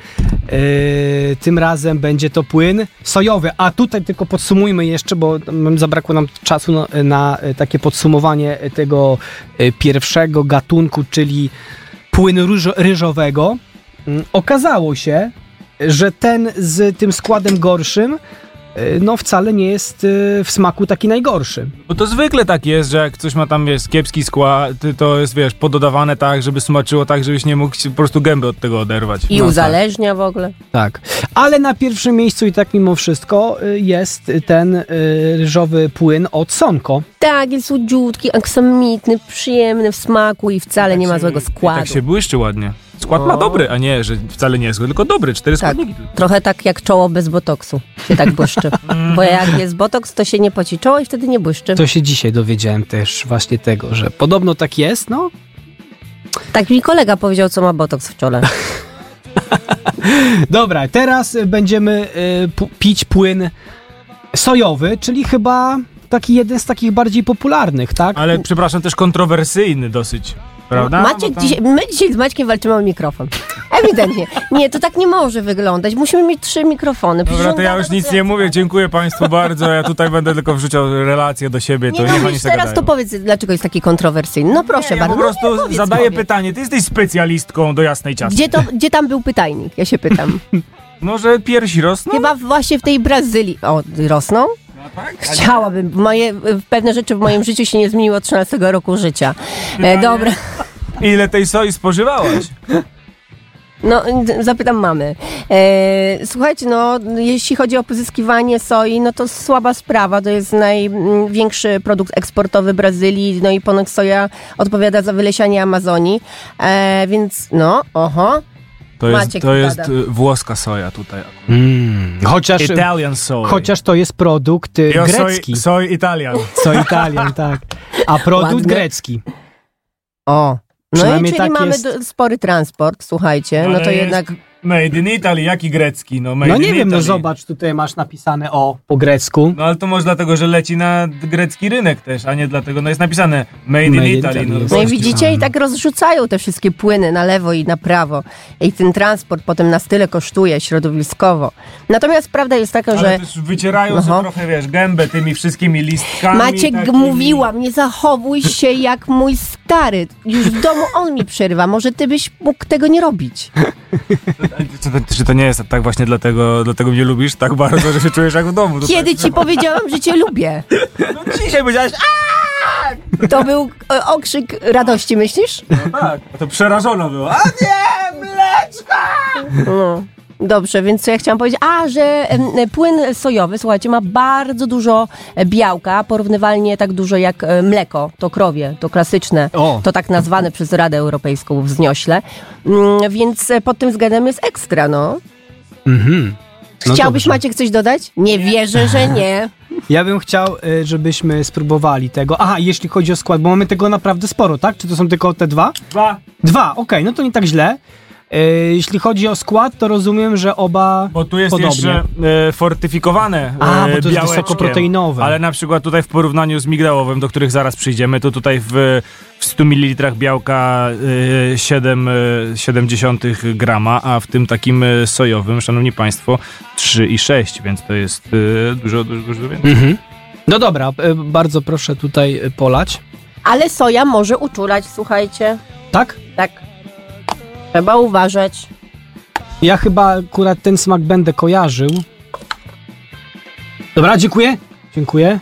tym razem będzie to płyn sojowy. A tutaj tylko podsumujmy jeszcze, bo tam zabrakło nam czasu na, na y, takie podsumowanie tego y, pierwszego gatunku, czyli płynu ryżo- ryżowego. Mm, Okazało się, że ten z tym składem gorszym y, no wcale nie jest y, w smaku taki najgorszy.
Bo to zwykle tak jest, że jak ktoś ma tam, wiesz, kiepski skład, to jest, wiesz, pododawane tak, żeby smaczyło tak, żebyś nie mógł się po prostu gęby od tego oderwać.
I
No tak.
uzależnia w ogóle.
Tak. Ale na pierwszym miejscu i tak mimo wszystko y, jest ten y, ryżowy płyn od Sonko.
Tak, jest słodziutki, aksamitny, przyjemny w smaku i wcale nie ma złego
I
składu.
tak się błyszczy ładnie. Skład ma
O.
dobry, a nie, że wcale nie jest zły, tylko dobry, cztery
Tak.
składniki.
Trochę tak jak czoło bez botoksu się tak błyszczy. Bo jak jest botoks, to się nie poci czoło i wtedy nie błyszczy.
To się dzisiaj dowiedziałem też właśnie tego, że podobno tak jest, no.
Tak mi kolega powiedział, co ma botoks w czole.
Dobra, teraz y, będziemy y, pu- pić płyn sojowy, czyli chyba taki jeden z takich bardziej popularnych, tak?
Ale, przepraszam, też kontrowersyjny dosyć, prawda? No
Maciek
Bo tam-
dzisiaj, my dzisiaj z Maćkiem walczymy o mikrofon. Ewidentnie. Nie, to tak nie może wyglądać. Musimy mieć trzy mikrofony. Przecież
No Dobra,
on
to ja
gada
już
bez
nic
sensu.
nie mówię, dziękuję państwu bardzo, ja tutaj będę tylko wrzucał relacje do siebie, to
Nie,
nie,
no
ma
mówisz
nic
teraz, to powiedz, dlaczego jest taki kontrowersyjny. No proszę
ja
bardzo.
po prostu
no, nie, powiedz,
zadaję
powiedz.
pytanie, ty jesteś specjalistką do jasnej ciasty.
Gdzie, to, gdzie tam był pytajnik? Ja się
*laughs*
pytam.
Może piersi rosną?
Chyba właśnie w tej Brazylii. O, rosną?
No tak,
Chciałabym. Moje, y, pewne rzeczy w moim życiu się nie zmieniło od 13 roku życia.
No
E, dobra.
Ile tej soi
*laughs*
spożywałaś?
No, d- zapytam mamy. E, słuchajcie, no, jeśli chodzi o pozyskiwanie soi, no to słaba sprawa. To jest największy produkt eksportowy Brazylii, no i ponoć soja odpowiada za wylesianie Amazonii. E, więc, no, oho.
To jest,
Maciek
to jest
gada.
y, włoska soja tutaj.
Mm, chociaż,
Italian soy.
chociaż to jest produkt y,
Yo
grecki.
soy, soy Italian.
No,
Co Italian, tak. A produkt
Ładnie.
grecki.
O. No i
Przynajmniej
czyli
tak
mamy
jest.
do- spory transport, słuchajcie, no
Ale
to
jest
jednak...
Made in Italy, jaki grecki? No, made
No
in
nie wiem, no
Italy.
zobacz, tutaj masz napisane o po grecku.
No ale to może dlatego, że leci na grecki rynek też, a nie dlatego, no jest napisane Made,
Made
in
in
Italy.
Italy
No,
jest.
No i
Polski
widzicie, i tak rozrzucają te wszystkie płyny na lewo i na prawo. I ten transport potem nas tyle kosztuje środowiskowo. Natomiast prawda jest taka, że...
Ale też wycierają
Aha.
sobie trochę, wiesz, gębę tymi wszystkimi listkami.
Maciek,
takimi.
mówiłam, nie zachowuj się jak mój stary. Już w domu on mi przerywa. Może ty byś mógł tego nie robić.
Czy to, czy to nie jest tak właśnie dlatego, dlatego mnie lubisz tak bardzo, że się czujesz jak w domu? tutaj?
Kiedy ci powiedziałam, że cię lubię?
No dzisiaj powiedziałeś,
To był e, okrzyk radości, myślisz?
a tak, to przerażona była. A nie, mleczko!
No. Dobrze, więc co ja chciałam powiedzieć? A, że em, płyn sojowy, słuchajcie, ma bardzo dużo e, białka, porównywalnie tak dużo jak e, mleko, to krowie, to klasyczne,
O.
to tak nazwane przez Radę Europejską wzniośle. Mm, więc e, pod tym względem jest ekstra, no.
Mhm. No
Chciałbyś,
dobrze.
Maciek, coś dodać? Nie wierzę, że nie.
Ja bym chciał, y, żebyśmy spróbowali tego. Aha, jeśli chodzi o skład, bo mamy tego naprawdę sporo, tak? Czy to są tylko te dwa?
Dwa.
Dwa, okej, no to nie tak źle. E, jeśli chodzi o skład, to rozumiem, że oba
Bo tu jest
podobnie.
jeszcze e, fortyfikowane e,
A, bo to jest
białeczkiem.
wysokoproteinowe.
Ale na przykład tutaj w porównaniu z migdałowym, do których zaraz przyjdziemy, to tutaj w, w 100 ml białka e, 7, e, 70 grama, a w tym takim e, sojowym, szanowni państwo, 3,6, więc to jest e, dużo, dużo, dużo więcej.
Mhm. No dobra, e, bardzo proszę tutaj e, polać.
Ale soja może uczulać, słuchajcie.
Tak?
Tak. Trzeba uważać.
Ja chyba akurat ten smak będę kojarzył. Dobra, dziękuję. Dziękuję.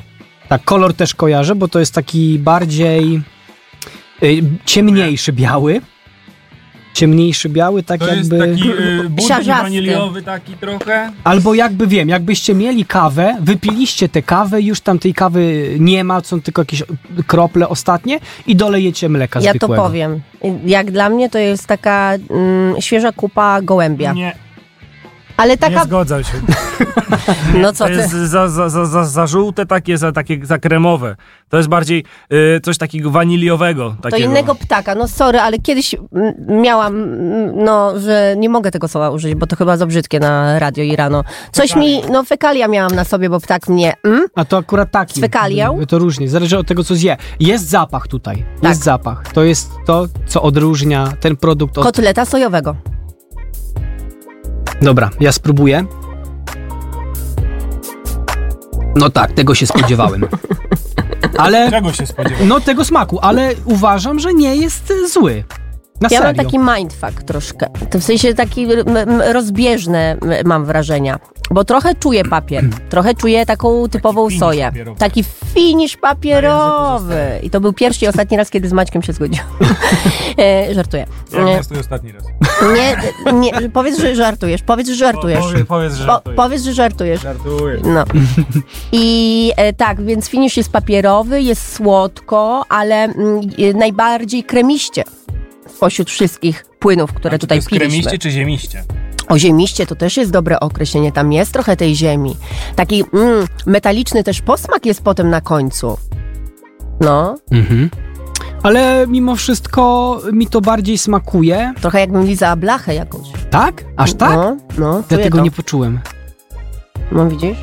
Tak, kolor też kojarzę, bo to jest taki bardziej y, ciemniejszy biały. Ciemniejszy biały, tak jakby.
budzik
Siarzasty.
e, waniliowy taki trochę.
Albo jakby wiem, jakbyście mieli kawę, wypiliście tę kawę, już tam tej kawy nie ma, są tylko jakieś krople ostatnie i dolejecie mleka
Ja to
zwykłego.
powiem. Jak dla mnie to jest taka mm, świeża kupa gołębia.
Nie,
Ale
nie
taka.
zgadzam się.
No co
To
ty?
jest za, za, za, za, za żółte takie, za takie za kremowe. To jest bardziej y, coś takiego waniliowego.
To
Takiego.
innego ptaka. No sorry, ale kiedyś mm, miałam, mm, no, że nie mogę tego słowa użyć, bo to chyba za brzydkie na radio i rano. Coś mi, no fekalia miałam na sobie, bo ptak mnie, mm?
A to akurat taki.
Z fekalią?
To różnie, zależy od tego, co zje. Jest zapach tutaj.
Tak.
Jest zapach. To jest to, co odróżnia ten produkt od.
Kotleta sojowego.
Dobra, ja spróbuję. No tak, tego się
*laughs*
spodziewałem. Ale.
Tak.
Czego się spodziewasz?
No tego smaku, ale uważam, że nie jest e, zły. Na
Ja
serio.
mam taki mindfuck troszkę. To w sensie taki m, m, rozbieżne m, mam wrażenia. Bo trochę czuję papier. Trochę czuję taką typową
finish
soję.
papierowy.
Taki finisz papierowy. I to był pierwszy i ostatni raz, kiedy z Maćkiem się zgodziłam. *laughs* e, żartuję. E,
ostatni raz.
nie, nie, powiedz, że żartujesz. Powiedz, że żartujesz.
No, powiedz, że
Po, powiedz, że żartujesz.
Żartuję.
No. I e, tak, więc finisz jest papierowy, jest słodko, ale mm, e, najbardziej kremiście spośród wszystkich płynów, które tutaj piliśmy.
czy ziemiście?
O ziemiście to też jest dobre określenie, tam jest trochę tej ziemi. Taki mm, metaliczny też posmak jest potem na końcu. No,
Mhm. Ale mimo wszystko mi to bardziej smakuje.
trochę jakbym lizała blachę jakąś.
Tak? Aż tak?
No, no
ja
czuję
tego
to.
nie poczułem.
No widzisz?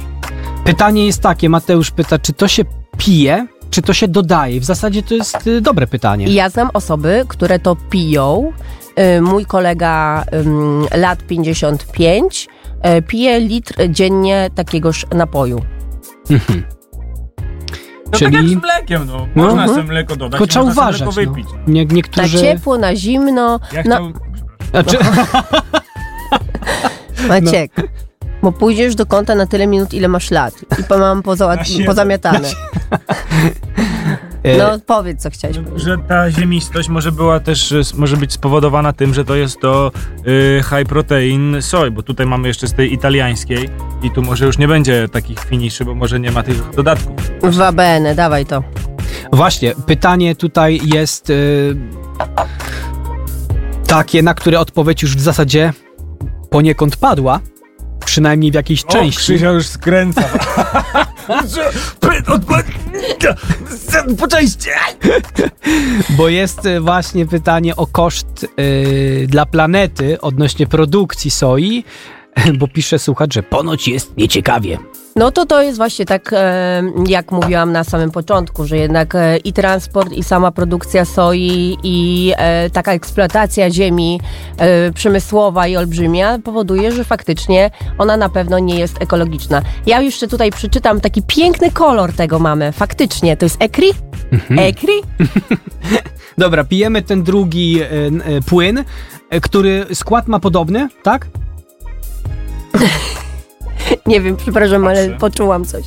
Pytanie jest takie, Mateusz pyta, czy to się pije, czy to się dodaje? W zasadzie to jest y, dobre pytanie.
I ja znam osoby, które to piją. Y, Mój kolega ym, lat 55 y, pije litr dziennie takiegoż napoju.
No
Czyli-
tak jak z mlekiem, no.
No,
Można
mhm.
sobie mleko dodać,
Tylko trzeba
można sobie
uważać.
mleko
No.
wypić.
Nie,
Na
niektórzy.
ciepło, na zimno.
Ja
na...
chciałbym...
Znaczy,
Maciek, bo pójdziesz do konta na tyle minut, ile masz lat. I po- mam
Na
pozałat-
siedem.
pozamiatane.
*laughs* e,
No powiedz, co chciałeś powiedzieć.
Że ta ziemistość może była też, e, s- może być spowodowana tym, że to jest to y, high protein soj, bo tutaj mamy jeszcze z tej italiańskiej i tu może już nie będzie takich finiszy, bo może nie ma tych dodatków.
No
W ABN, dawaj to.
Właśnie, pytanie tutaj jest e, takie, na które odpowiedź już w zasadzie poniekąd padła. Przynajmniej w jakiejś części.
już skręca.
*laughs*
po części.
Bo jest e, właśnie pytanie o koszt e, dla planety odnośnie produkcji soi, *laughs* bo pisze słuchacz, że ponoć jest nieciekawie.
No to to jest właśnie tak, e, jak mówiłam na samym początku, że jednak e, i transport, i sama produkcja soi, i e, taka eksploatacja ziemi e, przemysłowa i olbrzymia powoduje, że faktycznie ona na pewno nie jest ekologiczna. Ja jeszcze tutaj przeczytam taki piękny kolor tego mamy. Faktycznie, to jest ekri? Ekri? *laughs*
Dobra, pijemy ten drugi e, n- e, płyn, e, który skład ma podobny, tak?
Nie wiem, przepraszam, ale
Patrzę.
poczułam coś.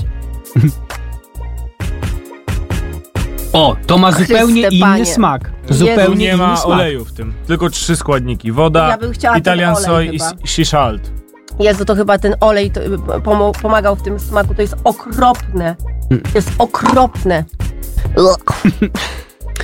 O, to ma
Chryste
zupełnie inny
Panie.
smak.
Jezu,
Zupełnie
nie
inny
ma
smak.
oleju w tym. Tylko trzy składniki. Woda,
Ja bym chciała ten
Italian
olej
soy i
chyba.
si- shishalt.
Jezu, to chyba ten olej to, y, pomo- pomagał w tym smaku. To jest okropne. To jest okropne. Ugh.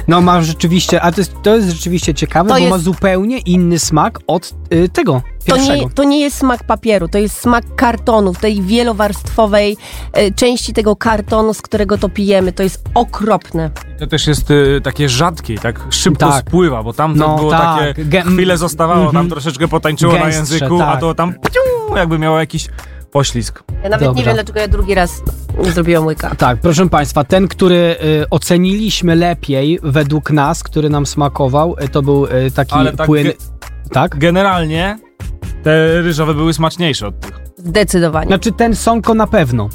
No ma rzeczywiście, a to jest, to jest rzeczywiście ciekawe,
To
bo
jest-
ma zupełnie inny smak od y, tego
To
pierwszego.
nie, to nie jest smak papieru, to jest smak kartonów, tej wielowarstwowej e, części tego kartonu, z którego to pijemy. To jest okropne.
To też jest y, takie rzadkie, i tak szybko
Tak.
spływa, bo tam to
No,
było
tak.
takie,
Gę-
chwilę zostawało, tam
Mhm.
troszeczkę potańczyło na
Gęstsze,
języku, a
tak.
to tam pciu, jakby miało jakiś poślizg.
Ja nawet nie
Dobra.
wiem, dlaczego ja drugi raz nie zrobiłam łyka.
Tak, proszę Państwa, ten, który y, oceniliśmy lepiej według nas, który nam smakował, y, to był y, taki
Ale tak
płyn.
ge-
tak?
Generalnie te ryżowe były smaczniejsze od tych.
Zdecydowanie.
Znaczy ten Sonko na pewno,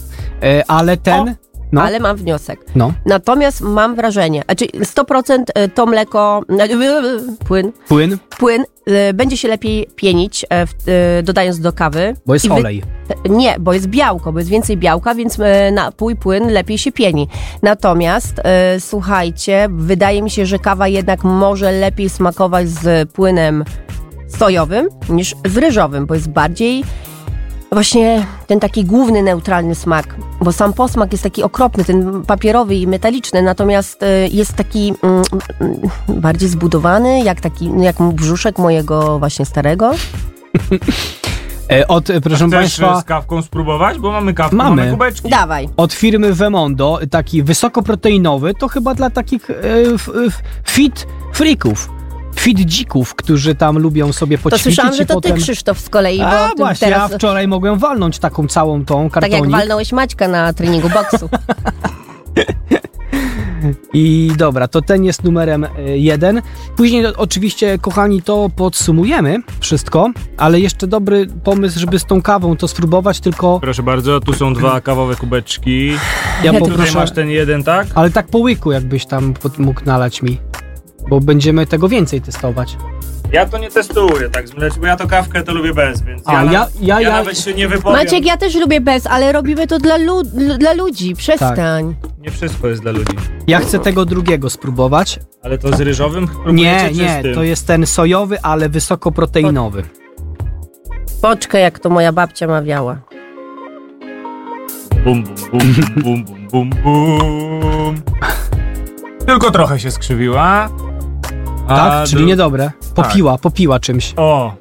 y, ale ten. no,
Ale mam wniosek.
no,
Natomiast mam wrażenie, znaczy 100% e, to mleko, płyn,
płyn,
płyn e, będzie się lepiej pienić, e, w- e, dodając do kawy.
bo jest
I wy-
olej.
Nie, bo jest białko, bo jest więcej białka, więc e, napój, płyn lepiej się pieni. Natomiast e, słuchajcie, wydaje mi się, że kawa jednak może lepiej smakować z płynem sojowym niż z ryżowym, bo jest bardziej właśnie ten taki główny neutralny smak, bo sam posmak jest taki okropny, ten papierowy i metaliczny, natomiast e, jest taki mm, mm, bardziej zbudowany, jak taki, no jak brzuszek mojego właśnie starego.
Y, Od, y, proszę
Chcesz
Państwa,
y, z kawką spróbować? Bo mamy kawkę, mamy,
Mamy.
kubeczki.
Dawaj.
od firmy Vemondo, y, taki wysokoproteinowy, to chyba dla takich y, f, f, fit freaków, fit dzików, którzy tam lubią sobie
To
poćwiczyć
słyszałam,
i
że to
potem...
ty, Krzysztof, z kolei, bo
A
ty
właśnie,
teraz...
ja wczoraj mogłem walnąć taką całą tą
tak jak
kartonik.
walnąłeś Maćka na treningu
*laughs*
boksu.
I dobra, to ten jest numerem y, jeden. Później o- oczywiście, kochani, to podsumujemy wszystko, ale jeszcze dobry pomysł, żeby z tą kawą to spróbować, tylko
Proszę bardzo, tu są dwa kawowe kubeczki.
ja
Ja
Tutaj
poproszę...
masz ten jeden, tak?
Ale tak po łyku jakbyś tam pod- mógł nalać mi, bo będziemy tego więcej testować.
Ja to nie testuję, tak z mleczem, bo ja to kawkę to lubię bez, więc
A,
na-
ja- ja- ja-
nawet się nie wypowiem.
Maciek, ja też lubię bez, ale robimy to dla, lu- lu- dla ludzi, przestań.
Tak.
Nie wszystko jest dla ludzi.
Ja chcę tego drugiego spróbować.
Ale to z ryżowym próbujecie
Nie,
czy z
nie,
tym?
to jest ten sojowy, ale wysokoproteinowy.
Poczkę, jak to moja babcia mawiała.
Bum, bum, bum, bum, bum, bum. Tylko trochę się skrzywiła. A
Tak? Czyli
dru- Tak.
niedobre. Popiła, popiła czymś.
O.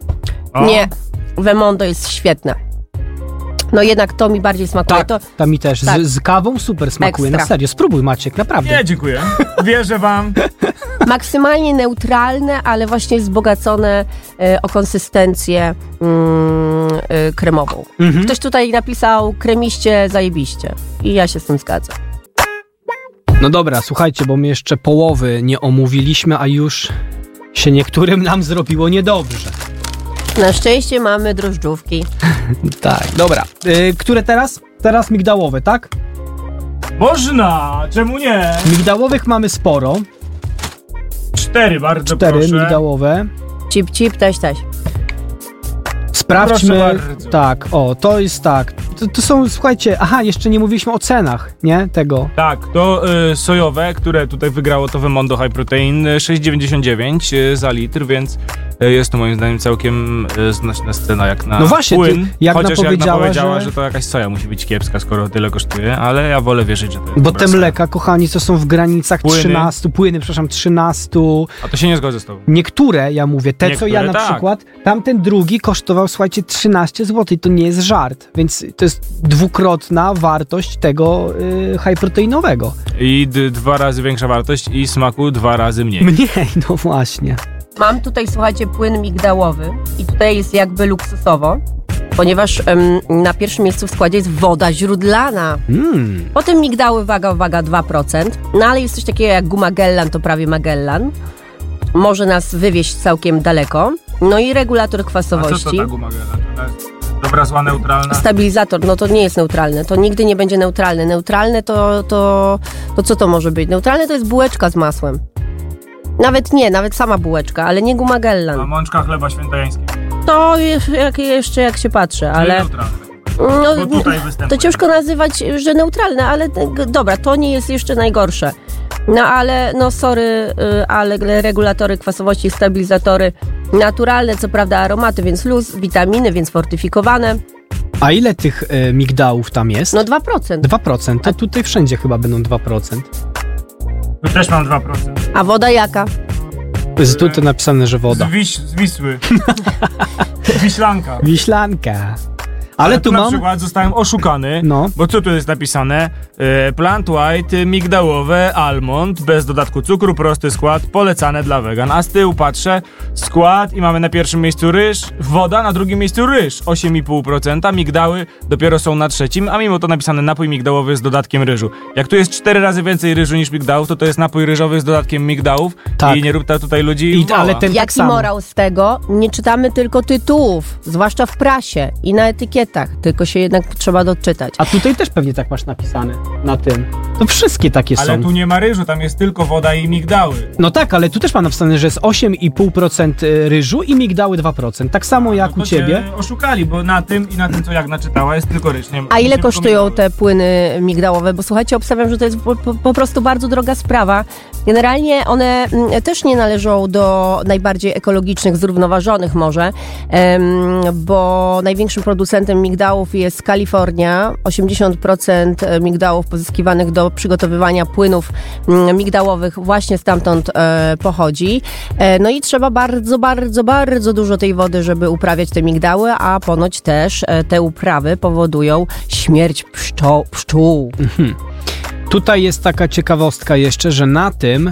o.
Nie, Wemondo jest świetne. No jednak to mi bardziej smakuje.
Tak,
To,
tam mi też.
Tak.
Z, z kawą super smakuje,
Ekstra.
na serio. Spróbuj Maciek, naprawdę.
Nie, dziękuję. Wierzę wam.
maksymalnie neutralne, ale właśnie wzbogacone e, o konsystencję mm, e, kremową.
Mhm.
Ktoś tutaj napisał kremiście, zajebiście. I ja się z tym zgadzam.
No dobra, słuchajcie, bo my jeszcze połowy nie omówiliśmy, a już się niektórym nam zrobiło niedobrze.
Na szczęście mamy drożdżówki.
Tak, dobra. Y, które teraz? Teraz migdałowe, tak?
Można, czemu nie?
Migdałowych mamy sporo.
Cztery, bardzo
Cztery
proszę.
migdałowe.
Cip, cip, taś, taś.
Sprawdźmy.
Proszę bardzo.
Tak, o, to jest tak. To, to są, słuchajcie, aha, jeszcze nie mówiliśmy o cenach, nie? Tego.
Tak, to y, sojowe, które tutaj wygrało to Wemondo High Protein y, 6,99 y, za litr, więc y, jest to moim zdaniem całkiem y, znaczna scena jak na
No właśnie,
płyn.
ty- jak
Chociaż jak
napowiedziała,
napowiedziała, że...
że-
to jakaś soja musi być kiepska, skoro tyle kosztuje, ale ja wolę wierzyć, że to jest
Bo
dobra
te
soja.
mleka, kochani, to są w granicach
Płyny.
13, płyny, przepraszam, 13.
A to się nie zgodzę z tobą.
Niektóre, ja mówię, te co ja
Niektóre
na
tak.
przykład, tamten drugi kosztował, słuchajcie, 13 zł, to nie jest żart, więc to jest dwukrotna wartość tego y, high proteinowego.
I d- dwa razy większa wartość i smaku dwa razy mniej.
Mniej, *laughs* no właśnie.
Mam tutaj, słuchajcie, płyn migdałowy i tutaj jest jakby luksusowo, ponieważ em, na pierwszym miejscu w składzie jest woda źródlana.
Mm.
Potem migdały, waga, waga 2%, no ale jest coś takiego jak Gumagellan, to prawie Magellan. Może nas wywieźć całkiem daleko. No i regulator kwasowości.
guma Dobra, zła, neutralna?
Stabilizator, no to nie jest neutralne, to nigdy nie będzie neutralne. Neutralne to, to, to co to może być? Neutralne to jest bułeczka z masłem. Nawet nie, nawet sama bułeczka, ale nie Gumagellan.
mączka chleba świętojańskiego.
To je- jak, jeszcze jak się patrzę, ale. No, to ciężko nazywać, że neutralne, ale te- g- dobra, to nie jest jeszcze najgorsze. No ale, no sorry, y, ale gle- regulatory kwasowości, stabilizatory naturalne, co prawda aromaty, więc luz, witaminy, więc fortyfikowane.
A ile tych y, migdałów tam jest?
No 2%.
2%, to tutaj wszędzie chyba będą 2%.
Tu No też mam 2%.
A woda jaka?
*laughs*
Jest tutaj napisane, że woda.
Wiś, z Wisły. Wiślanka.
Wiślanka. Ale tu
na
mam...
przykład zostałem oszukany,
No.
bo co tu jest napisane? E, plant white, migdałowe, almond, bez dodatku cukru, prosty skład, polecane dla wegan. A z tyłu patrzę, skład i mamy na pierwszym miejscu ryż, woda, na drugim miejscu ryż, 8,5%, migdały dopiero są na trzecim, a mimo to napisane napój migdałowy z dodatkiem ryżu. Jak tu jest cztery razy więcej ryżu niż migdałów, to to jest napój ryżowy z dodatkiem migdałów
Tak.
i nie rób ta tutaj ludzi
I,
mała.
ale ten tak
Jaki
samo.
morał z tego? Nie czytamy tylko tytułów, zwłaszcza w prasie i na etykietach, tylko się jednak trzeba doczytać.
A tutaj też pewnie tak masz napisane na tym. To wszystkie takie
Ale
są.
tu nie ma ryżu, tam jest tylko woda i migdały.
No tak, ale tu też mam napisane, że jest 8,5% y, ryżu i migdały 2%. Tak samo jak
No
u
to cię
ciebie.
Oszukali, bo na tym i na tym, co Jagna czytała, jest tylko ryż. Nie ma-
A ile
nie
kosztują
przypominam.
te płyny migdałowe? Bo słuchajcie, obstawiam, że to jest po, po, po prostu bardzo droga sprawa. Generalnie one mm, też nie należą do najbardziej ekologicznych, zrównoważonych może, em, bo największym producentem migdałów jest Kalifornia. 80% e, migdałów pozyskiwanych do przygotowywania płynów mm, migdałowych właśnie stamtąd e, pochodzi. E, no i trzeba bardzo, bardzo, bardzo dużo tej wody, żeby uprawiać te migdały, a ponoć też e, te uprawy powodują śmierć pszczo- pszczół.
Tutaj jest taka ciekawostka jeszcze, że na tym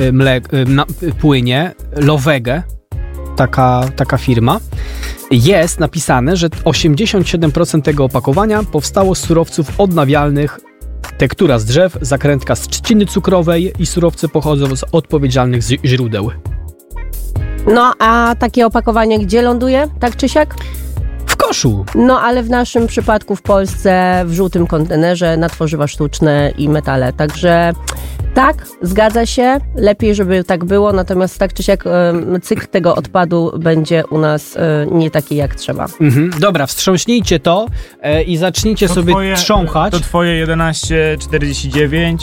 y, mle, y, na, y, płynie Lowege, taka, taka firma, jest napisane, że 87% tego opakowania powstało z surowców odnawialnych, tektura z drzew, zakrętka z trzciny cukrowej i surowce pochodzą z odpowiedzialnych zi- źródeł.
No a takie opakowanie gdzie ląduje, tak czy siak?
W koszu!
No ale w naszym przypadku w Polsce w żółtym kontenerze na tworzywa sztuczne i metale. Także tak, zgadza się, lepiej żeby tak było, natomiast tak czy siak em, cykl tego odpadu będzie u nas e, nie taki jak trzeba.
Mhm. Dobra, wstrząśnijcie to e, i zacznijcie sobie trząchać.
To twoje 11,49,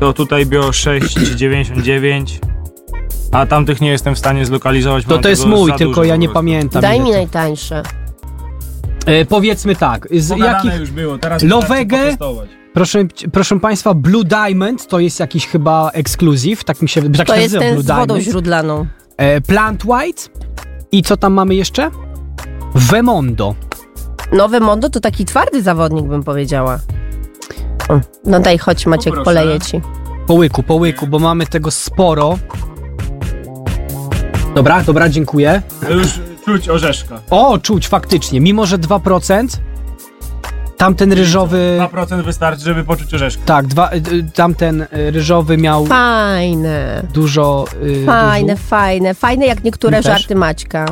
to tutaj bio 6,99, a tamtych nie jestem w stanie zlokalizować. bo
To
mam
to jest
tego
mój,
za
tylko
dużo
ja
po
nie
prostu.
pamiętam.
Daj
ile
mi
to-
najtańsze.
E, powiedzmy tak, z
Pogadane
jakich...
już było, teraz
Lowege?
wystarczy potestować.
Proszę, proszę Państwa, Blue Diamond to jest jakiś chyba ekskluzyw, tak mi się tak
To
się
jest
nazywa
ten
Blue
z wodą
Diamond.
źródlaną.
E, Plant White i co tam mamy jeszcze? Vemondo.
Nowe Mondo to taki twardy zawodnik, bym powiedziała. O, No daj, chodź Maciek,
Poproszę.
poleję ci.
Po łyku, po łyku, bo mamy tego sporo. Dobra, dobra, dziękuję.
To Już czuć orzeszka.
O, czuć faktycznie, mimo że 2%, tamten ryżowy...
2% wystarczy, żeby poczuć orzeszka.
Tak, dwa, y, y, tamten y, ryżowy miał
Fajne.
dużo... y,
Fajne,
ryżu.
fajne, fajne jak niektóre
Mi też.
żarty Maćka.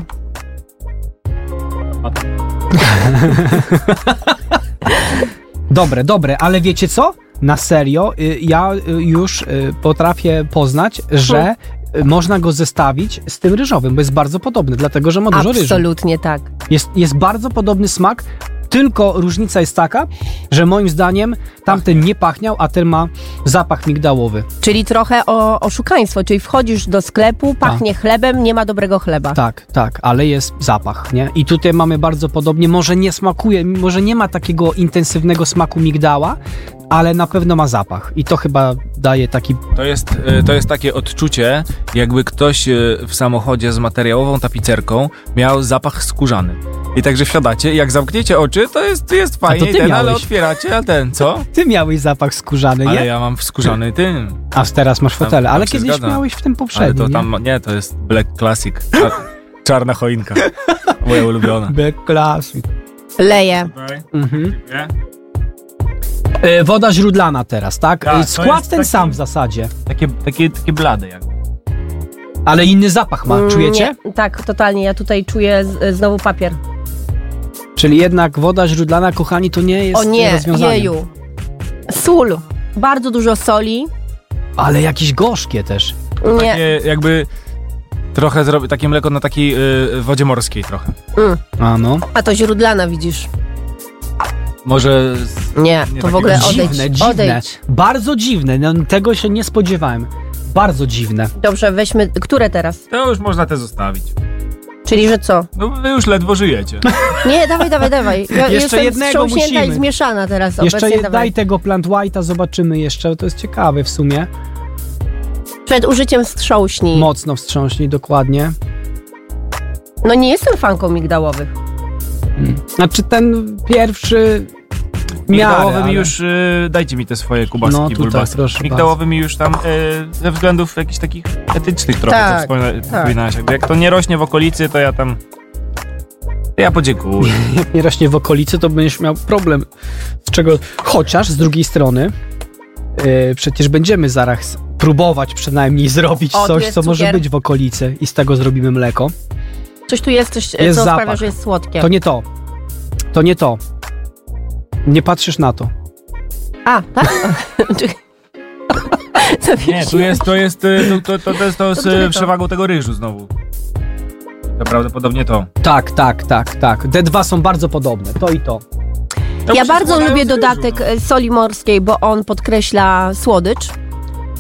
Dobre, dobre, ale wiecie co? Na serio, y, ja y, już y, potrafię poznać, że
Mhm.
y, można go zestawić z tym ryżowym, bo jest bardzo podobny, dlatego że ma dużo ryżu.
Absolutnie tak.
Jest, jest bardzo podobny smak, tylko różnica jest taka, że moim zdaniem tamten nie pachniał, a ten ma zapach migdałowy.
Czyli trochę o, oszukaństwo, czyli wchodzisz do sklepu, pachnie chlebem, nie ma dobrego chleba.
Tak, tak, ale jest zapach, nie? I tutaj mamy bardzo podobnie, może nie smakuje, może nie ma takiego intensywnego smaku migdała, ale na pewno ma zapach i to chyba daje taki
To jest, y, to jest takie odczucie, jakby ktoś y, w samochodzie z materiałową tapicerką miał zapach skórzany. I także wsiadacie i jak zamkniecie oczy, to jest, jest fajnie,
ty
i ten, ale
miałeś.
otwieracie, a ten, co?
Ty miałeś zapach skórzany,
Ale
nie?
ja mam wskórzany tym.
A teraz masz
Tam-
fotele,
tam
ale
się
kiedyś
zgadza.
miałeś w tym
Ale
poprzednim,
to tam, nie, to jest Black Classic. Cza- Czarna choinka. Moja ulubiona.
nie? Black Classic.
Leję.
Tutaj,
Mhm.
dziękuję.
E, woda źródlana teraz, tak?
Tak,
E,
to
Skład
jest
ten
taki-
sam w zasadzie,
Takie, takie, takie blade jakby.
ale inny zapach ma,
Mm,
czujecie?
Nie, tak, totalnie. Ja tutaj czuję z, znowu papier.
Czyli jednak woda źródlana, kochani, to nie jest
o nie,
rozwiązanie.
jeju. Sól. Bardzo dużo soli.
Ale jakieś gorzkie też.
Nie.
Takie jakby trochę zrobię takie mleko na takiej y, wodzie morskiej trochę.
Mm.
A no.
A to źródlana widzisz.
Może z,
Nie,
Nie,
to w
takie
ogóle
dziwne,
odejdź.
dziwne, dziwne.
Odejdź.
Bardzo dziwne, no, tego się nie spodziewałem. Bardzo dziwne.
Dobrze, weźmy. Które teraz?
To już można te zostawić.
Czyli że co?
No wy już ledwo żyjecie.
Nie, dawaj, dawaj, dawaj. Ja
Jeszcze
jestem
jednego
wstrząśnięta
musimy.
i zmieszana teraz
Jeszcze
obecnie.
je,
dawaj.
daj tego Plant White'a, zobaczymy jeszcze, to jest ciekawe w sumie.
Przed użyciem wstrząśnij.
Mocno wstrząśnij, dokładnie.
No nie jestem fanką migdałowych.
Znaczy ten pierwszy miały,
Migdałowy mi już, y, dajcie mi te swoje kubaski,
No, tutaj,
bulbaski.
proszę
Migdałowy mi już tam y, ze względów jakichś takich etycznych trochę,
Tak,
co wspomina-
tak.
wspominałaś. Jakby Jak to nie rośnie w okolicy, to ja tam... Ja podziękuję.
Jak nie rośnie w okolicy, to będziesz miał problem. Z czego... Chociaż z drugiej strony yy, przecież będziemy zaraz próbować przynajmniej zrobić
O, tu
coś,
jest
co może
cukier.
być w okolicy i z tego zrobimy mleko.
Coś tu jest, coś,
Jest
co sprawia,
zapach.
że jest słodkie.
To nie to. To nie to. Nie patrzysz na to.
A, tak? *laughs* Czekaj.
Nie, tu jest, to jest, y, to, to, to jest to z
To
y,
tylko.
przewagą tego ryżu znowu. To prawdopodobnie to.
Tak, tak, tak, tak. Te dwa są bardzo podobne. To i to.
To
ja
się
bardzo
składają
lubię
z ryżu,
dodatek
no.
e, soli morskiej, bo on podkreśla słodycz.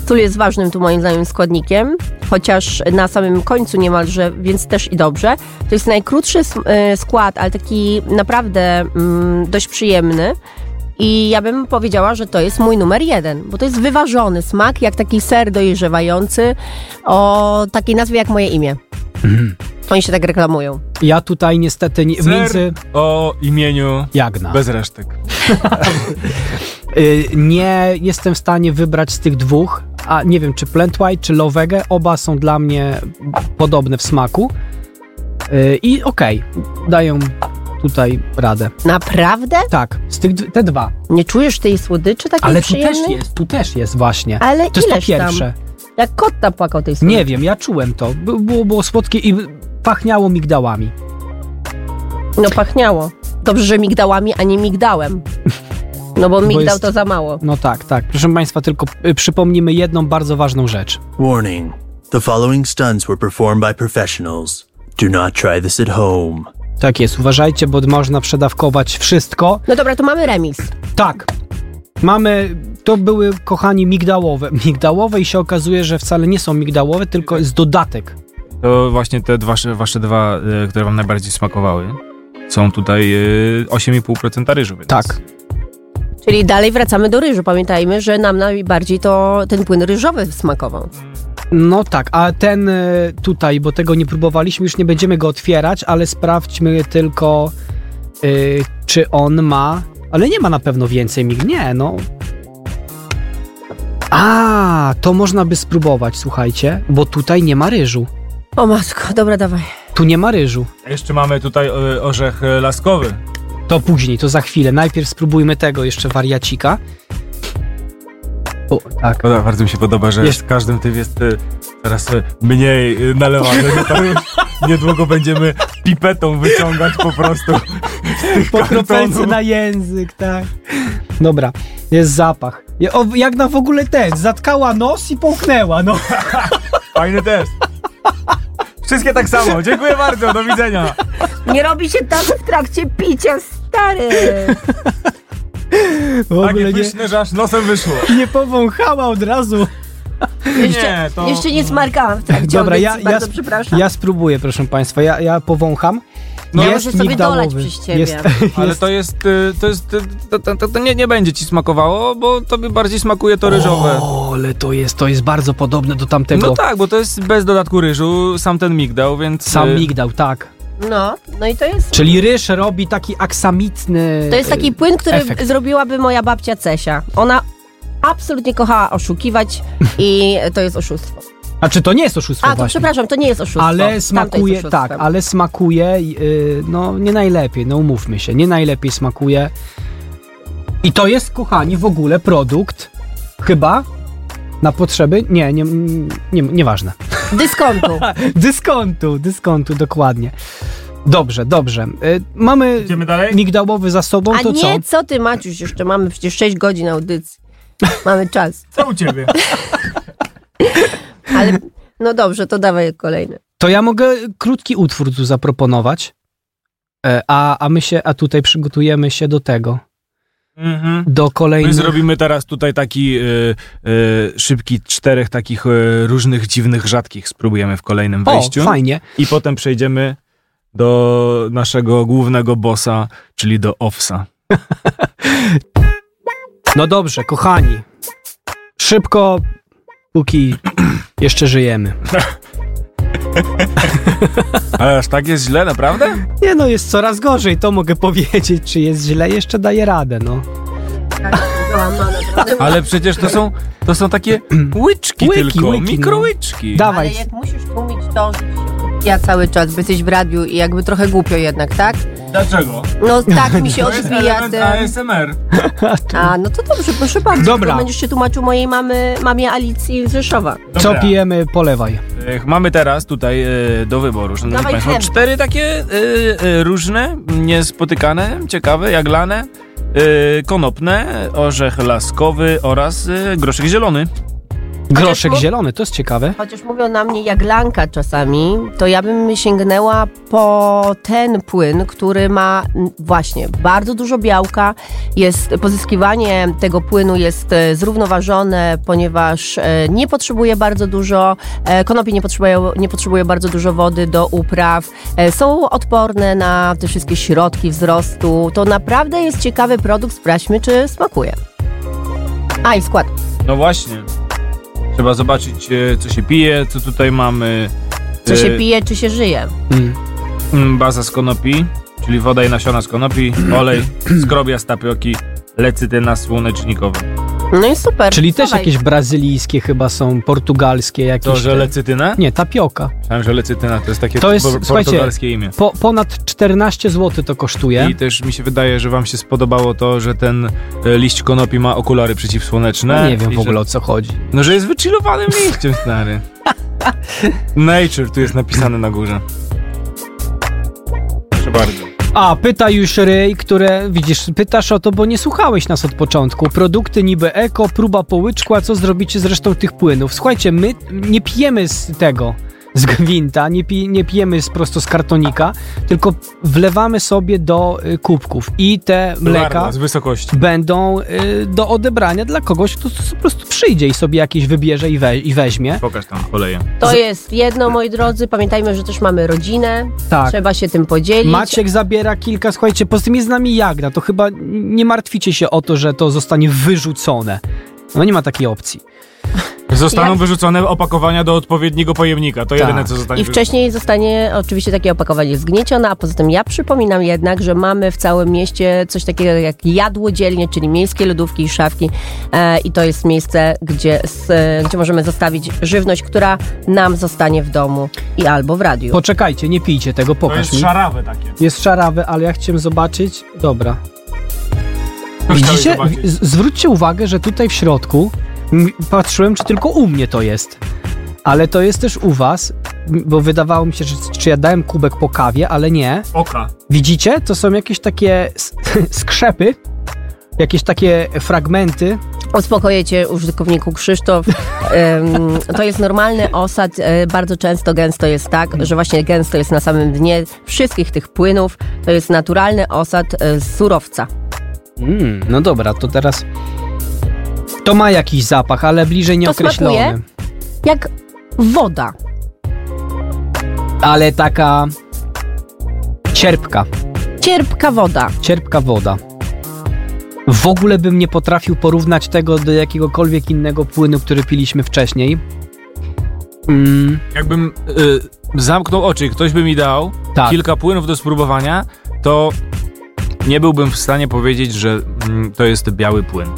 Sól jest ważnym tu moim zdaniem składnikiem, chociaż na samym końcu niemalże, więc też i dobrze. To jest najkrótszy s- e, skład, ale taki naprawdę mm, dość przyjemny. I ja bym powiedziała, że to jest mój numer jeden, bo to jest wyważony smak, jak taki ser dojrzewający o takiej nazwie jak moje imię.
Mhm.
Oni się tak reklamują.
Ja tutaj niestety nie,
Ser
między
o imieniu
Jagna.
bez resztek.
Y, nie jestem w stanie wybrać z tych dwóch, a nie wiem czy Plentwhite, czy Lowege, oba są dla mnie podobne w smaku. Y, I okej, dają tutaj radę.
Naprawdę?
Tak, z tych d- te dwa.
Nie czujesz tej słodyczy takiej
Ale tu
przyjemnej?
też jest, tu też jest właśnie.
Ale
to jest to
ileż tam?
pierwsze.
Jak kot napłakał tej słodyczy.
Nie wiem, ja czułem to. By- Było, było słodkie i pachniało migdałami.
No pachniało. Dobrze, że migdałami, a nie migdałem. No bo migdał
jest-
to za mało.
No tak, tak. Proszę Państwa, tylko y, przypomnijmy jedną bardzo ważną rzecz.
Warning The following stunts were performed by professionals. Do not try this at home.
Tak jest, uważajcie, bo można przedawkować wszystko.
No dobra, to mamy remis.
Tak. Mamy, to były, kochani, migdałowe. *laughs* Migdałowe i się okazuje, że wcale nie są migdałowe, tylko jest dodatek.
To właśnie te dwa, wasze dwa, y, które wam najbardziej smakowały, są tutaj y, 8,5% ryżu. Więc
Tak.
Czyli dalej wracamy do ryżu. Pamiętajmy, że nam najbardziej to ten płyn ryżowy smakował.
No tak, a ten y, tutaj, bo tego nie próbowaliśmy, już nie będziemy go otwierać, ale sprawdźmy tylko, y, czy on ma. Ale nie ma na pewno więcej mig. Nie, no. A, to można by spróbować, słuchajcie, bo tutaj nie ma ryżu.
O matko, dobra, dawaj.
Tu nie ma ryżu.
Jeszcze mamy tutaj y, orzech y, laskowy.
To później, to za chwilę. Najpierw spróbujmy tego jeszcze wariacika. O, tak.
Podoba, bardzo mi się podoba, że
Jest.
jest. każdym tym jest y, coraz y, mniej y, nalewany. No to *laughs* już niedługo będziemy pipetą wyciągać po prostu.
Po kropelce
kartonu.
na język, tak. Dobra, jest zapach. Ja- O, jak na w ogóle ten, zatkała nos i połknęła, no.
Fajny test. Wszystkie tak samo. Dziękuję bardzo, do widzenia.
Nie robi się tak w trakcie picia, stary. Tak,
W ogóle
Takie
nie,
pyszne, że aż nosem wyszło.
nie powąchała od razu.
Nie, to...
*laughs* Jeszcze nie smarkałam w trakcie
Dobra,
audycji,
ja, ja,
bardzo
sp-
przepraszam.
ja spróbuję, proszę państwa, ja, ja powącham.
No, ja muszę sobie dolać
migdałowy.
przez ciebie. *laughs*
Jest,
Ale to jest, y, to jest, y, to, to, to, to nie, nie będzie ci smakowało, bo tobie bardziej smakuje to ryżowe.
O, ale to jest, to jest bardzo podobne do tamtego.
No tak, bo to jest bez dodatku ryżu, sam ten migdał, więc...
Sam
y,
migdał, tak.
No, no i to jest...
Czyli ryż robi taki aksamitny...
To jest taki płyn, który
efekt.
zrobiłaby moja babcia Cesia. Ona absolutnie
*laughs*
kochała oszukiwać i to jest oszustwo.
A czy to nie jest oszustwo
A, to
właśnie?
przepraszam, to nie jest oszustwo. Tamto
Ale
jest
smakuje,
oszustwem.
tak, ale smakuje, yy, no nie najlepiej, no umówmy się, nie najlepiej smakuje. I to jest, kochani, w ogóle produkt, chyba, na potrzeby, nie, nie, nie, nieważne. *laughs*
Dyskontu.
Dyskontu, dyskontu, dokładnie. Dobrze, dobrze. Yy, mamy
Idziemy dalej?
migdałowy za sobą,
A
No to co?
nie, co ty Maciuś, jeszcze mamy przecież 6 godzin audycji. Mamy czas.
Co u ciebie?
Ale no dobrze, to
*laughs*
dawaj kolejny.
To ja mogę krótki utwór tu zaproponować, E, a, a my się, a tutaj przygotujemy się do tego,
Mhm.
do
My
kolejnych...
zrobimy teraz tutaj taki y, y, szybki czterech takich y, różnych dziwnych rzadkich spróbujemy w kolejnym
O,
wejściu.
fajnie.
I potem przejdziemy do naszego głównego bossa, czyli do Offsa.
No dobrze, kochani. Szybko, póki jeszcze żyjemy.
Ale aż tak jest źle, naprawdę?
Nie no, jest coraz gorzej, to mogę powiedzieć. Czy jest źle? Jeszcze daję radę, no.
Ale przecież to są, to są
*clears throat*
takie łyczki
Łyki,
tylko,
łyki, no.
mikrołyczki.
Dawaj.
Ale jak musisz tłumić to, że się ja cały czas, bo jesteś w radiu i jakby trochę głupio jednak, tak?
Dlaczego?
No tak
*laughs*
mi się
To jest
odbija
element
ten...
ASMR.
A, no to dobrze, proszę bardzo.
Dobra.
tylko Będziesz się tłumaczył mojej mamy, mamie Alicji z Rzeszowa.
Co
Dobra.
pijemy, polewaj.
E, Mamy teraz tutaj e, do wyboru, szanowni
Dawaj
państwo,
ten.
cztery takie e, e, różne, niespotykane, ciekawe, jaglane, e, konopne, orzech laskowy oraz e, groszek zielony.
Groszek
Chociaż mu-
zielony, to jest ciekawe.
Chociaż mówią na mnie jaglanka czasami, to ja bym sięgnęła po ten płyn, który ma mm, właśnie bardzo dużo białka. Jest, pozyskiwanie tego płynu jest e, zrównoważone, ponieważ e, nie potrzebuje bardzo dużo, e, konopie nie potrzebują, nie potrzebuje bardzo dużo wody do upraw. E, Są odporne na te wszystkie środki wzrostu. To naprawdę jest ciekawy produkt, sprawdźmy czy smakuje. A i skład.
No właśnie. Trzeba zobaczyć, e, co się pije, co tutaj mamy.
Co
E,
się pije, czy się żyje.
Mm.
mm, Baza z konopi, czyli woda i nasiona
*clears throat*
z konopi, olej, skrobia z tapioki, lecytyna słonecznikowa.
No i super.
Czyli też
Dawaj.
jakieś brazylijskie chyba są, portugalskie jakieś.
To, że
te-
lecytynę?
Nie, tapioka.
Myślałem, Tak, że lecytyna to jest takie
To jest,
por-
słuchajcie,
portugalskie imię.
Po, ponad 14 zł to kosztuje.
I też mi się wydaje, że wam się spodobało to, że ten e, liść konopi ma okulary przeciwsłoneczne.
No nie wiem
I
w ogóle
Że,
o co chodzi.
no, że jest wychillowanym liściem,
*laughs*
stary. Nature tu jest napisane na górze. Proszę bardzo.
A, pyta już Rej, które, widzisz, pytasz o to, bo nie słuchałeś nas od początku. Produkty niby eko, próba połyczku, a co zrobicie z resztą tych płynów? Słuchajcie, my nie pijemy z tego, z gwinta, nie, pi, nie pijemy z, prosto z kartonika, tylko wlewamy sobie do y, kubków i te mleka
Larwa z wysokości.
będą y, do odebrania dla kogoś, kto s- po prostu przyjdzie i sobie jakieś wybierze i, we, i weźmie.
Pokaż tam koleję.
To jest jedno, moi drodzy. Pamiętajmy, że też mamy rodzinę.
Tak.
Trzeba się tym podzielić.
Maciek zabiera kilka, słuchajcie, poza tym jest z nami Jagna, to chyba nie martwicie się o to, że to zostanie wyrzucone. No nie ma takiej opcji.
Zostaną
Jak-
wyrzucone opakowania do odpowiedniego pojemnika.
Tak.
To jedyne, co zostanie
I wcześniej zostanie oczywiście takie opakowanie zgniecione, a poza tym ja przypominam jednak, że mamy w całym mieście coś takiego jak jadłodzielnie, czyli miejskie lodówki i szafki e, i to jest miejsce, gdzie, s, e, gdzie możemy zostawić żywność, która nam zostanie w domu i albo w radiu.
Poczekajcie, nie pijcie tego,
To
pokaż
jest
mi.
szarawe takie.
Jest szarawe, ale ja chciałem zobaczyć. Dobra.
To
Widzicie?
chciałeś zobaczyć.
Z- Zwróćcie uwagę, że tutaj w środku m, patrzyłem, czy tylko u mnie to jest. Ale to jest też u was, m, bo wydawało mi się, że czy ja dałem kubek po kawie, ale nie.
Oka.
Widzicie? To są jakieś takie s- *laughs* skrzepy, jakieś takie fragmenty.
Uspokoję cię, użytkowniku Krzysztof. Em, to jest normalny osad. e, Bardzo często gęsto jest tak, że właśnie gęsto jest na samym dnie wszystkich tych płynów. To jest naturalny osad e, z surowca.
Mm, no dobra, to teraz. To ma jakiś zapach, ale bliżej nieokreślony.
smakuje? Jak woda.
Ale taka. Cierpka,
Cierpka woda.
cierpka woda. W ogóle bym nie potrafił porównać tego do jakiegokolwiek innego płynu, który piliśmy wcześniej. Mm,
Jakbym y, zamknął oczy i ktoś by mi dał
tak.
kilka płynów do spróbowania, to nie byłbym w stanie powiedzieć, że mm, to jest biały płyn.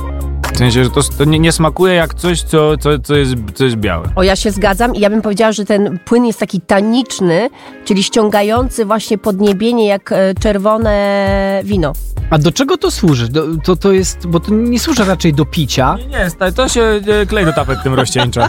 W sensie, że to, to nie, nie smakuje jak coś, co, co, co, jest, co jest białe.
O, ja się zgadzam i ja bym powiedziała, że ten płyn jest taki taniczny, czyli ściągający właśnie podniebienie jak e, czerwone wino. No,
A do czego to służy? Do, to, to jest. Bo to nie służy raczej do picia.
Nie, nie, stary, to się e, klej do tapet tym *laughs* rozcieńcza.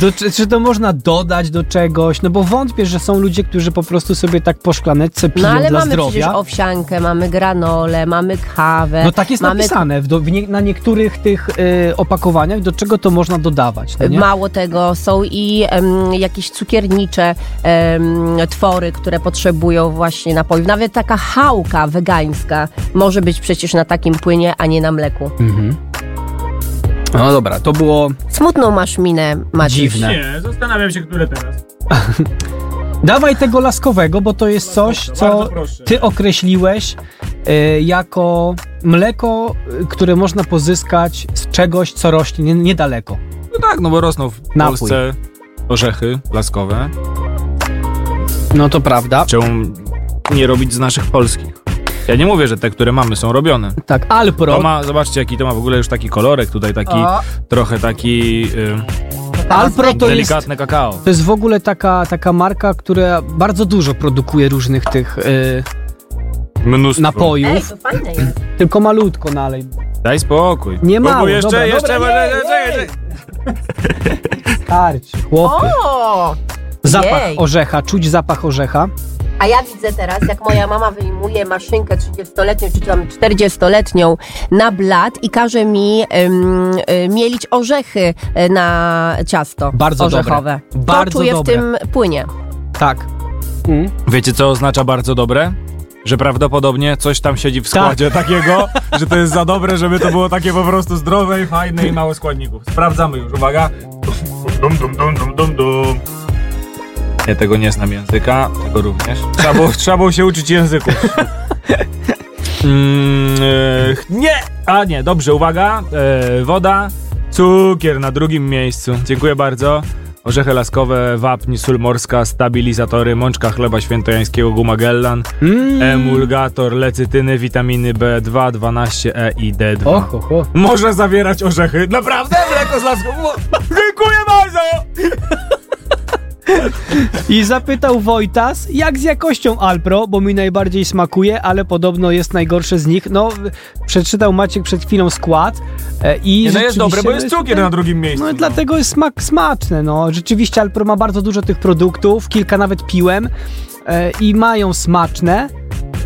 Do, czy, czy to można dodać do czegoś? No bo wątpię, że są ludzie, którzy po prostu sobie tak po szklaneczce piją
No ale
dla
mamy przecież
zdrowia.
owsiankę, mamy granole, mamy kawę.
No tak jest
mamy
napisane w do, w nie, na niektórych tych y, opakowaniach, do czego to można dodawać. No nie?
Mało tego, są i em, jakieś cukiernicze em, twory, które potrzebują właśnie napojów. Nawet taka chałka wegańska może być przecież na takim płynie, a nie na mleku.
Mhm. No dobra, to było
Smutną masz minę, Maciej.
dziwne.
Nie, zastanawiam się, które teraz.
Dawaj tego laskowego, bo to jest coś, co
proszę.
ty określiłeś y, jako mleko, y, które można pozyskać z czegoś, co rośnie nie- niedaleko.
No tak, no bo rosną w
Napój.
Polsce orzechy laskowe,
No to prawda.
Czemu nie robić z naszych polskich? Ja nie mówię, że te, które mamy, są robione.
Tak, Alpro.
To ma, zobaczcie, jaki to ma w ogóle już taki kolorek tutaj, taki
O.
trochę taki y,
Alpro to jest,
delikatny kakao.
to jest w ogóle taka, taka marka, która bardzo dużo produkuje różnych tych y,
Mnóstwo.
napojów.
Ej, to fajne jest.
Tylko malutko nalej.
Daj spokój.
Nie
Kubu,
mało,
jeszcze,
dobra,
jeszcze,
dobra,
może-
nie,
czekaj,
nie.
czekaj.
Starczy, chłopy.
O!
Zapach
Jej.
orzecha, czuć zapach orzecha.
A ja widzę teraz, jak moja mama wyjmuje maszynkę 30-letnią, czy tam 40-letnią na blat i każe mi ym, y, mielić orzechy y, na ciasto
Bardzo
orzechowe.
dobre. Bardzo
to czuję
dobre.
w tym płynie.
Tak. Mm.
Wiecie, co oznacza bardzo dobre? Że prawdopodobnie coś tam siedzi w składzie
Tak. *laughs*
takiego,
Że to jest za dobre, żeby to było takie po prostu zdrowe i fajne i mało składników. Sprawdzamy już, uwaga. Dum, dum, dum, dum, dum, dum.
Ja tego nie znam języka, tego również.
Trzeba było, trzeba było się
*laughs*
uczyć języków.
Mm, e,
Ech, nie! A nie, dobrze, uwaga. E, woda, cukier na drugim miejscu. Dziękuję bardzo. Orzechy laskowe, wapń, sól morska, stabilizatory, mączka chleba świętojańskiego, guma gellan,
Mm.
emulgator, lecytyny, witaminy B2, 12E E i D2.
Och, och, och.
Może zawierać orzechy. Naprawdę? Mleko z laską. Mo- Dziękuję bardzo!
I zapytał Wojtas, jak z jakością Alpro, bo mi najbardziej smakuje, ale podobno jest najgorsze z nich. No, przeczytał Maciek przed chwilą skład e, i
Nie, no jest
rzeczywiście,
dobre, bo
no,
jest
Cukier na drugim miejscu.
No i dlatego jest smak smaczny, no. Rzeczywiście Alpro ma bardzo dużo tych produktów, kilka nawet piłem e, i mają smaczne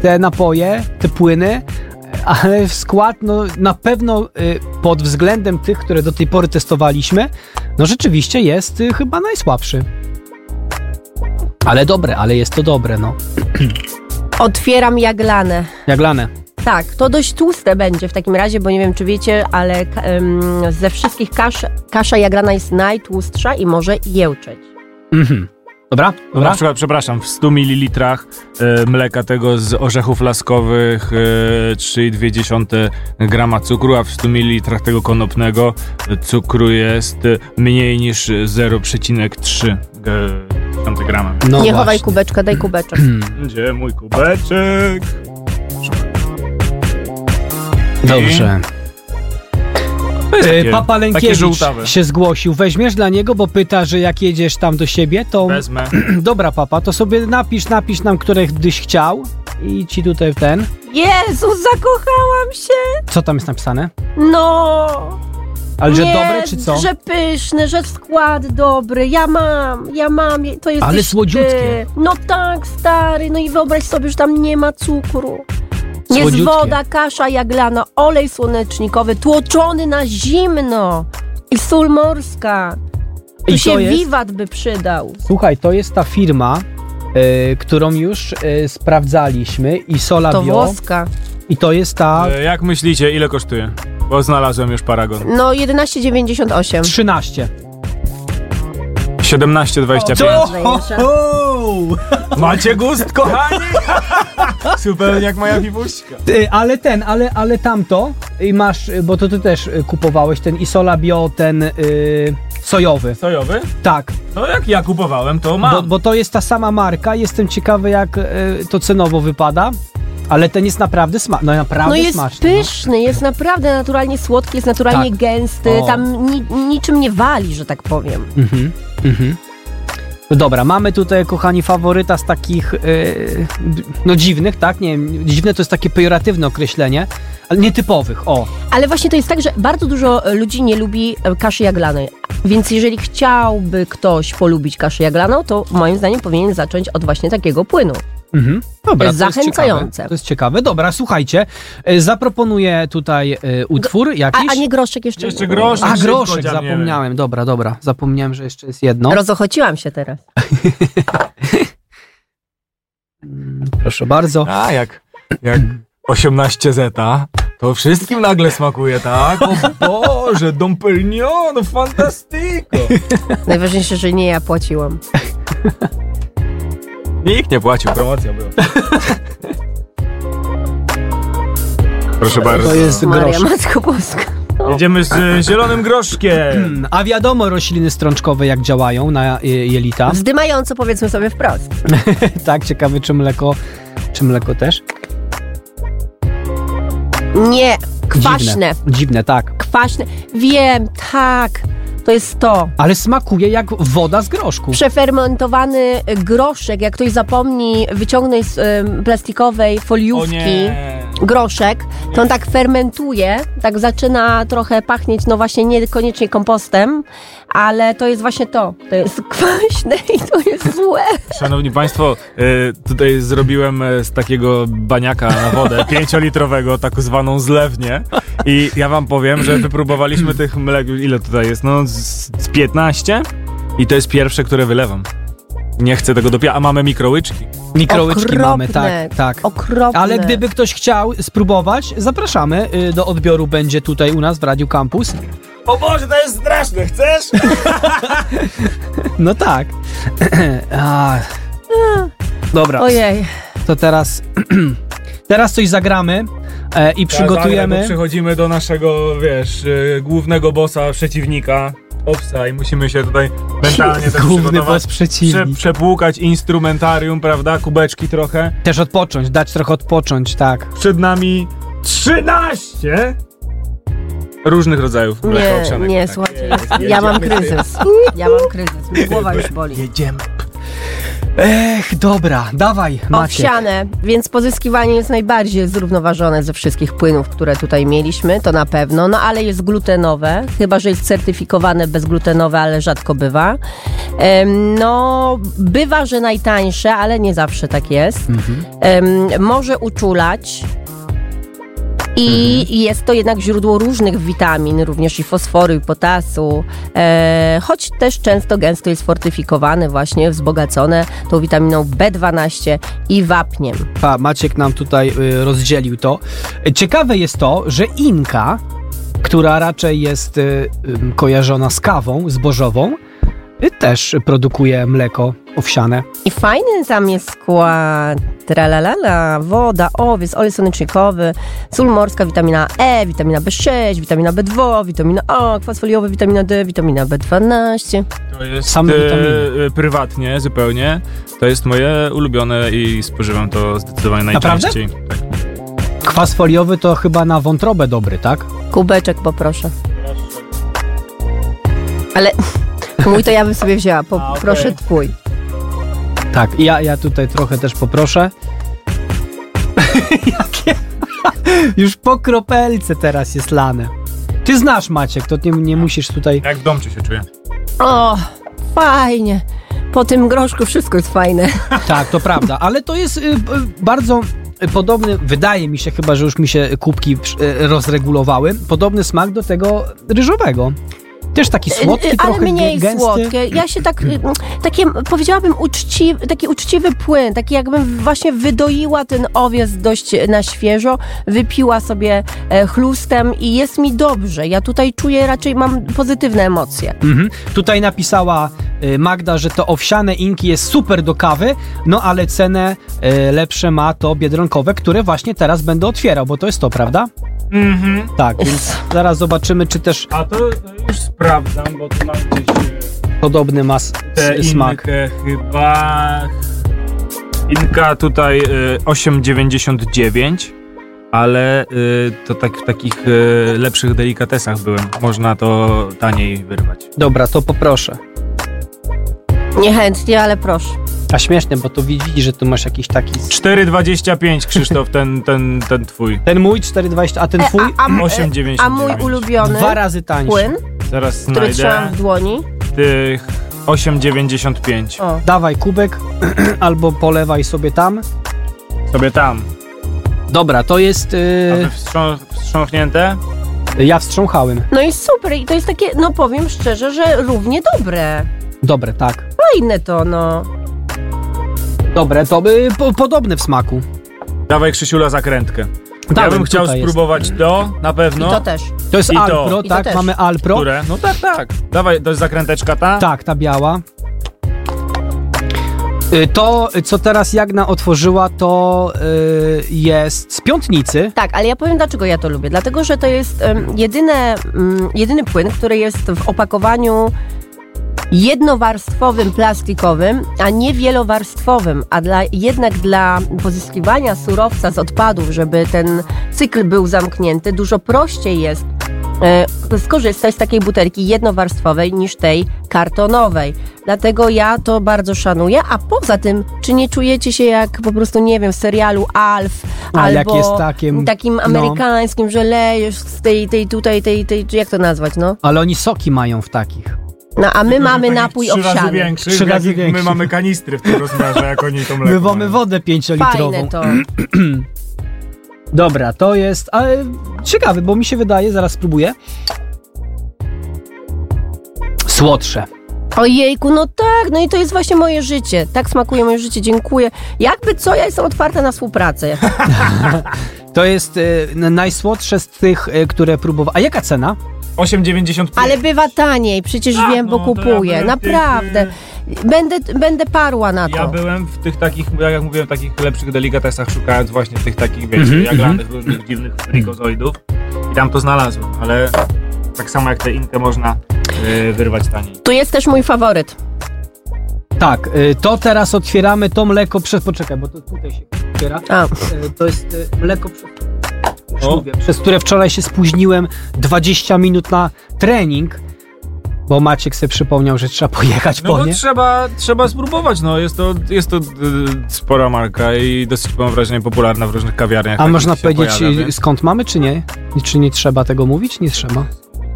te napoje, te płyny, e, ale w skład, no na pewno e, pod względem tych, które do tej pory testowaliśmy, no rzeczywiście jest e, chyba najsłabszy. Ale dobre, ale jest to dobre, no.
Otwieram jaglanę.
Jaglane.
Tak, to dość tłuste będzie w takim razie, bo nie wiem, czy wiecie, ale ka- em, ze wszystkich kasz, kasza jaglana jest najtłustsza i może jełczeć.
Mhm. Dobra,
No na
dobra.
przykład, przepraszam, w 100 ml e, mleka tego z orzechów laskowych e, 3,2 grama cukru, a w 100 ml tego konopnego e, cukru jest e, mniej niż 0,3 e, grama.
No
nie chowaj
właśnie.
kubeczka, daj kubeczek. *clears throat*
Gdzie mój kubeczek?
Dobrze. Y,
takie-
Papa
takie
Lękiewicz
żółtawe.
się zgłosił. Weźmiesz dla niego, bo pyta, że jak jedziesz tam do siebie, to
Wezmę.
*clears throat* dobra papa, to sobie napisz, napisz nam, które gdyś chciał i ci tutaj ten.
Jezu, zakochałam się!
Co tam jest napisane?
No!
Ale że
nie,
dobre czy co?
że pyszne, że skład dobry. Ja mam, ja mam, je- to jest
Ale słodziutkie.
No tak, stary, no i wyobraź sobie, że tam nie ma cukru. Jest
Słodziutkie.
woda, kasza jaglana, olej słonecznikowy, tłoczony na zimno i sól morska. Tu
I to
się
jest?
wiwat by przydał.
Słuchaj, to jest ta firma, y, którą już y, sprawdzaliśmy i Sola
To
Bio
włoska.
i to jest ta
E, Jak myślicie, ile kosztuje? Bo znalazłem już paragon.
No 11,98.
13.
17,25.
Zajęcia.
Macie gust, kochani! *laughs* Zupełnie jak moja piwuśka.
Ty, ale ten, ale, ale tamto i masz, y, bo to ty też y, kupowałeś ten Isola Bio, ten y, sojowy.
Sojowy?
Tak,
No jak ja kupowałem, to mam.
bo, bo to jest ta sama marka. Jestem ciekawy, jak y, to cenowo wypada. Ale ten jest naprawdę smaczny. No naprawdę
No jest
smaczny. no.
pyszny, jest naprawdę naturalnie słodki, jest naturalnie
Tak.
gęsty,
O.
tam ni niczym nie wali, że tak powiem.
Mhm, mhm. No Dobra, mamy tutaj, kochani, faworyta z takich, y, no dziwnych, tak? Nie wiem, dziwne to jest takie pejoratywne określenie, ale nietypowych, o.
Ale właśnie to jest tak, że bardzo dużo e, ludzi nie lubi e, kaszy jaglanej. Więc jeżeli chciałby ktoś polubić kaszę jaglaną, to moim zdaniem powinien zacząć od właśnie takiego płynu.
Mhm. Dobra,
Jest
to jest
zachęcające.
ciekawe. To jest ciekawe. Dobra, słuchajcie, y, zaproponuję tutaj y, utwór
A,
jakiś.
a nie groszek jeszcze.
Jeszcze groszek.
A,
szybko
groszek,
dziabniemy.
zapomniałem. Dobra, dobra, zapomniałem, że jeszcze jest
no.
jedno.
Rozochociłam się teraz.
Proszę bardzo.
*laughs* A jak, jak 18 zeta, to wszystkim nagle smakuje, tak? O Boże, dompernion, fantastico!
Najważniejsze, że nie ja płaciłam.
Nikt nie płacił, promocja była. Proszę bardzo.
To jest
Maria,
groszek.
Matko Boska. O
Jedziemy z e, zielonym groszkiem.
A wiadomo rośliny strączkowe jak działają na y, jelita. *laughs*
Zdymająco powiedzmy sobie wprost.
Tak, ciekawy czy mleko, czy mleko też?
Nie, kwaśne,
Dziwne, Dziwne tak.
kwaśne. Wiem, tak, to jest to.
Ale smakuje jak woda z groszku.
Przefermentowany groszek, jak ktoś zapomni wyciągnąć z em, plastikowej
O
foliówki
nie.
groszek, to on tak fermentuje, tak zaczyna trochę pachnieć, no właśnie niekoniecznie kompostem, ale to jest właśnie to. To jest kwaśne *laughs* i to jest złe.
Szanowni Państwo, e, tutaj zrobiłem e, z takiego baniaka na *laughs* wodę pięciolitrowego, tak zwaną zlewnię. I ja Wam powiem, że wypróbowaliśmy tych mlek, ile tutaj jest? No, z, z 15? I to jest pierwsze, które wylewam. Nie chcę tego dopiero, a mamy mikrowyczki.
Mikrołyczki
okropne,
mamy, tak, tak.
Okropne.
Ale gdyby ktoś chciał spróbować, zapraszamy y, do odbioru. Będzie tutaj u nas w Radiu Campus. *laughs*
O Boże, to jest straszne, chcesz?
No tak. *clears throat* A. Dobra,
Ojej,
to teraz. *clears throat* Teraz coś zagramy e, i
Tak,
przygotujemy.
przechodzimy do naszego, wiesz, y, głównego bossa, przeciwnika. Owsa i musimy się tutaj mentalnie też
Główny
przygotować.
boss przeciwnik.
przepłukać instrumentarium, prawda? Kubeczki trochę.
Też odpocząć, dać trochę odpocząć, tak.
Przed nami 13 różnych rodzajów mleka
nie,
owsianego.
nie,
Tak.
słuchajcie, ja mam kryzys. Ja mam kryzys, mi głowa już boli.
Jedziemy. Ech, dobra, dawaj, Maciek.
Owsiane, więc pozyskiwanie jest najbardziej zrównoważone ze wszystkich płynów, które tutaj mieliśmy, to na pewno, no ale jest glutenowe, chyba że jest certyfikowane bezglutenowe, ale rzadko bywa. Em, No, bywa, że najtańsze, ale nie zawsze tak jest. Em, Może uczulać. I jest to jednak źródło różnych witamin, również i fosforu, i potasu, e, choć też często gęsto jest fortyfikowane, właśnie wzbogacone tą witaminą B12 i wapniem.
Pa, Maciek nam tutaj y, rozdzielił to. Ciekawe jest to, że Inka, która raczej jest y, ym, kojarzona z kawą zbożową, y, też produkuje mleko owsiane.
I fajny tam jest skład. Tralalala, woda, owiec, olej słonecznikowy, sól morska, witamina E, witamina B6, witamina B2, witamina O, kwas foliowy, witamina D, witamina B12.
To jest
Same
e,
witaminy.
e, prywatnie zupełnie. To jest moje ulubione i spożywam to zdecydowanie
Naprawdę?
najczęściej.
Kwas foliowy to chyba na wątrobę dobry, tak?
Kubeczek poproszę. Ale *laughs* mój to ja bym sobie wzięła, poproszę twój.
Tak, ja, ja tutaj trochę też poproszę. *laughs* Jakie? Już po kropelce teraz jest lane. Ty znasz Maciek, to nie, nie musisz tutaj.
Jak w domczy się czuję.
O, fajnie. Po tym groszku wszystko jest fajne.
Tak, to prawda, ale to jest y, y, bardzo y, podobny, wydaje mi się, chyba że już mi się kubki y, rozregulowały, podobny smak do tego ryżowego. Też taki słodki,
Y, y, ale
trochę
mniej
gę- gęsty.
słodkie. Ja się tak, y, takie powiedziałabym uczciwy, taki uczciwy płyn, taki jakbym właśnie wydoiła ten owiec dość y, na świeżo, wypiła sobie e, chlustem i jest mi dobrze. Ja tutaj czuję, raczej mam pozytywne emocje.
Mhm. Tutaj napisała y, Magda, że to owsiane inki jest super do kawy, no ale cenę y, lepsze ma to biedronkowe, które właśnie teraz będę otwierał, bo to jest to, prawda?
Mhm.
Tak, więc zaraz zobaczymy, czy też
A to już sprawdzam, bo tu mam gdzieś... e,
podobny ma s-
Te
s- smak.
Inkę chyba. Inka tutaj y, 8,99, ale y, to tak w takich y, lepszych delikatesach byłem. Można to taniej wyrwać.
Dobra, to poproszę.
Niechętnie, ale proszę.
A śmieszne, bo to widzisz, że tu masz jakiś taki...
4,25 Krzysztof, ten, ten, ten twój.
Ten mój 4,20, a ten twój
E, a, m- e,
8,99.
a mój ulubiony
dwa razy tańszy.
płyn,
Zaraz
który trzymam
znajdę.
w dłoni.
Tych 8,95.
O.
Dawaj kubek *clears throat* albo polewaj sobie tam.
Sobie tam.
Dobra, to jest...
A
y,
wy wstrząs- wstrząśnięte?
ja wstrząchałem.
No i super, i to jest takie, no powiem szczerze, że równie dobre.
Dobre, tak.
Fajne to, no.
Dobre, to by po, podobne w smaku.
Dawaj Krzysiula zakrętkę. Ja
Dawaj,
bym chciał
tutaj jest.
spróbować to, na pewno.
No.
I to też.
To jest
I to.
Alpro,
I to
tak?
też.
Mamy Alpro.
Które? Tak. No tak, tak. Dawaj, to jest zakręteczka ta?
Tak, ta biała. Y, To, co teraz Jagna otworzyła, to y, jest z piątnicy.
Tak, ale ja powiem dlaczego ja to lubię. Dlatego, że to jest em, jedyne, mm, jedyny płyn, który jest w opakowaniu jednowarstwowym, plastikowym, a nie wielowarstwowym. A dla, jednak dla pozyskiwania surowca z odpadów, żeby ten cykl był zamknięty, dużo prościej jest e, skorzystać z takiej butelki jednowarstwowej niż tej kartonowej. Dlatego ja to bardzo szanuję, a poza tym, czy nie czujecie się jak po prostu, nie wiem, w serialu Alf,
A
albo
jak jest takim-
takim
no.
amerykańskim, że lejesz z tej, tej, tutaj, tej, tej, jak to nazwać, no?
Ale oni soki mają w takich.
No, a my mamy
Takich
napój
trzy razy
owsiany.
większych,
Trzy razy
jak
większych.
My mamy kanistry w tym rozmiarze, jak oni to mleko
Wywamy
mają.
wodę
Fajne
pięciolitrową.
to.
Dobra, to jest. Ale ciekawy, bo mi się wydaje, zaraz spróbuję. Słodsze.
Ojejku, no tak, no i to jest właśnie moje życie. Tak smakuje moje życie, dziękuję. Jakby co, ja jestem otwarta
*laughs*
na współpracę.
To jest y, n- najsłodsze z tych, y, które próbowałem. A jaka cena?
8,95.
Ale bywa taniej, przecież
A,
wiem, bo
no, to ja
kupuję.
byłem
Naprawdę. Będę, będę parła na to.
Ja byłem w tych takich, jak mówiłem, takich lepszych delikatesach, szukając właśnie tych takich, wiecie,
Mhm,
jaglanych, różnych dziwnych frikozoidów. I tam to znalazłem, ale tak samo jak te inkę można yy, wyrwać taniej.
Tu jest też mój faworyt.
Tak, y, to teraz otwieramy to mleko przez. Poczekaj, bo to tutaj się otwiera.
A,
Y, To jest y, mleko przez. Już
O.
mówię, przez które wczoraj się spóźniłem 20 minut na trening, bo Maciek sobie przypomniał, że trzeba pojechać
No
po
bo
nie.
trzeba, trzeba spróbować, no jest to, jest to y, spora marka i dosyć mam wrażenie popularna w różnych kawiarniach.
A
takich
można
się
powiedzieć,
pojawia,
y,
więc-
skąd mamy, czy nie? I Czy nie trzeba tego mówić? Nie trzeba.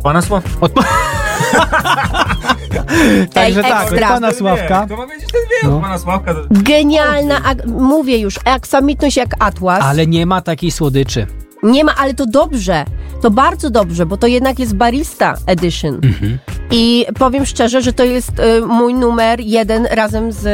Pana Sław.
Od... Także tak, od
ekstra.
pana Sławka.
To ma wiedzieć, ten wie,
No.
no. pana Sławka. to-
genialna, ak- mówię już, aksamitność jak atłas.
Ale nie ma takiej słodyczy.
Nie ma, ale to dobrze. To bardzo dobrze, bo to jednak jest Barista Edition.
Mhm.
I powiem szczerze, że to jest y, mój numer jeden razem z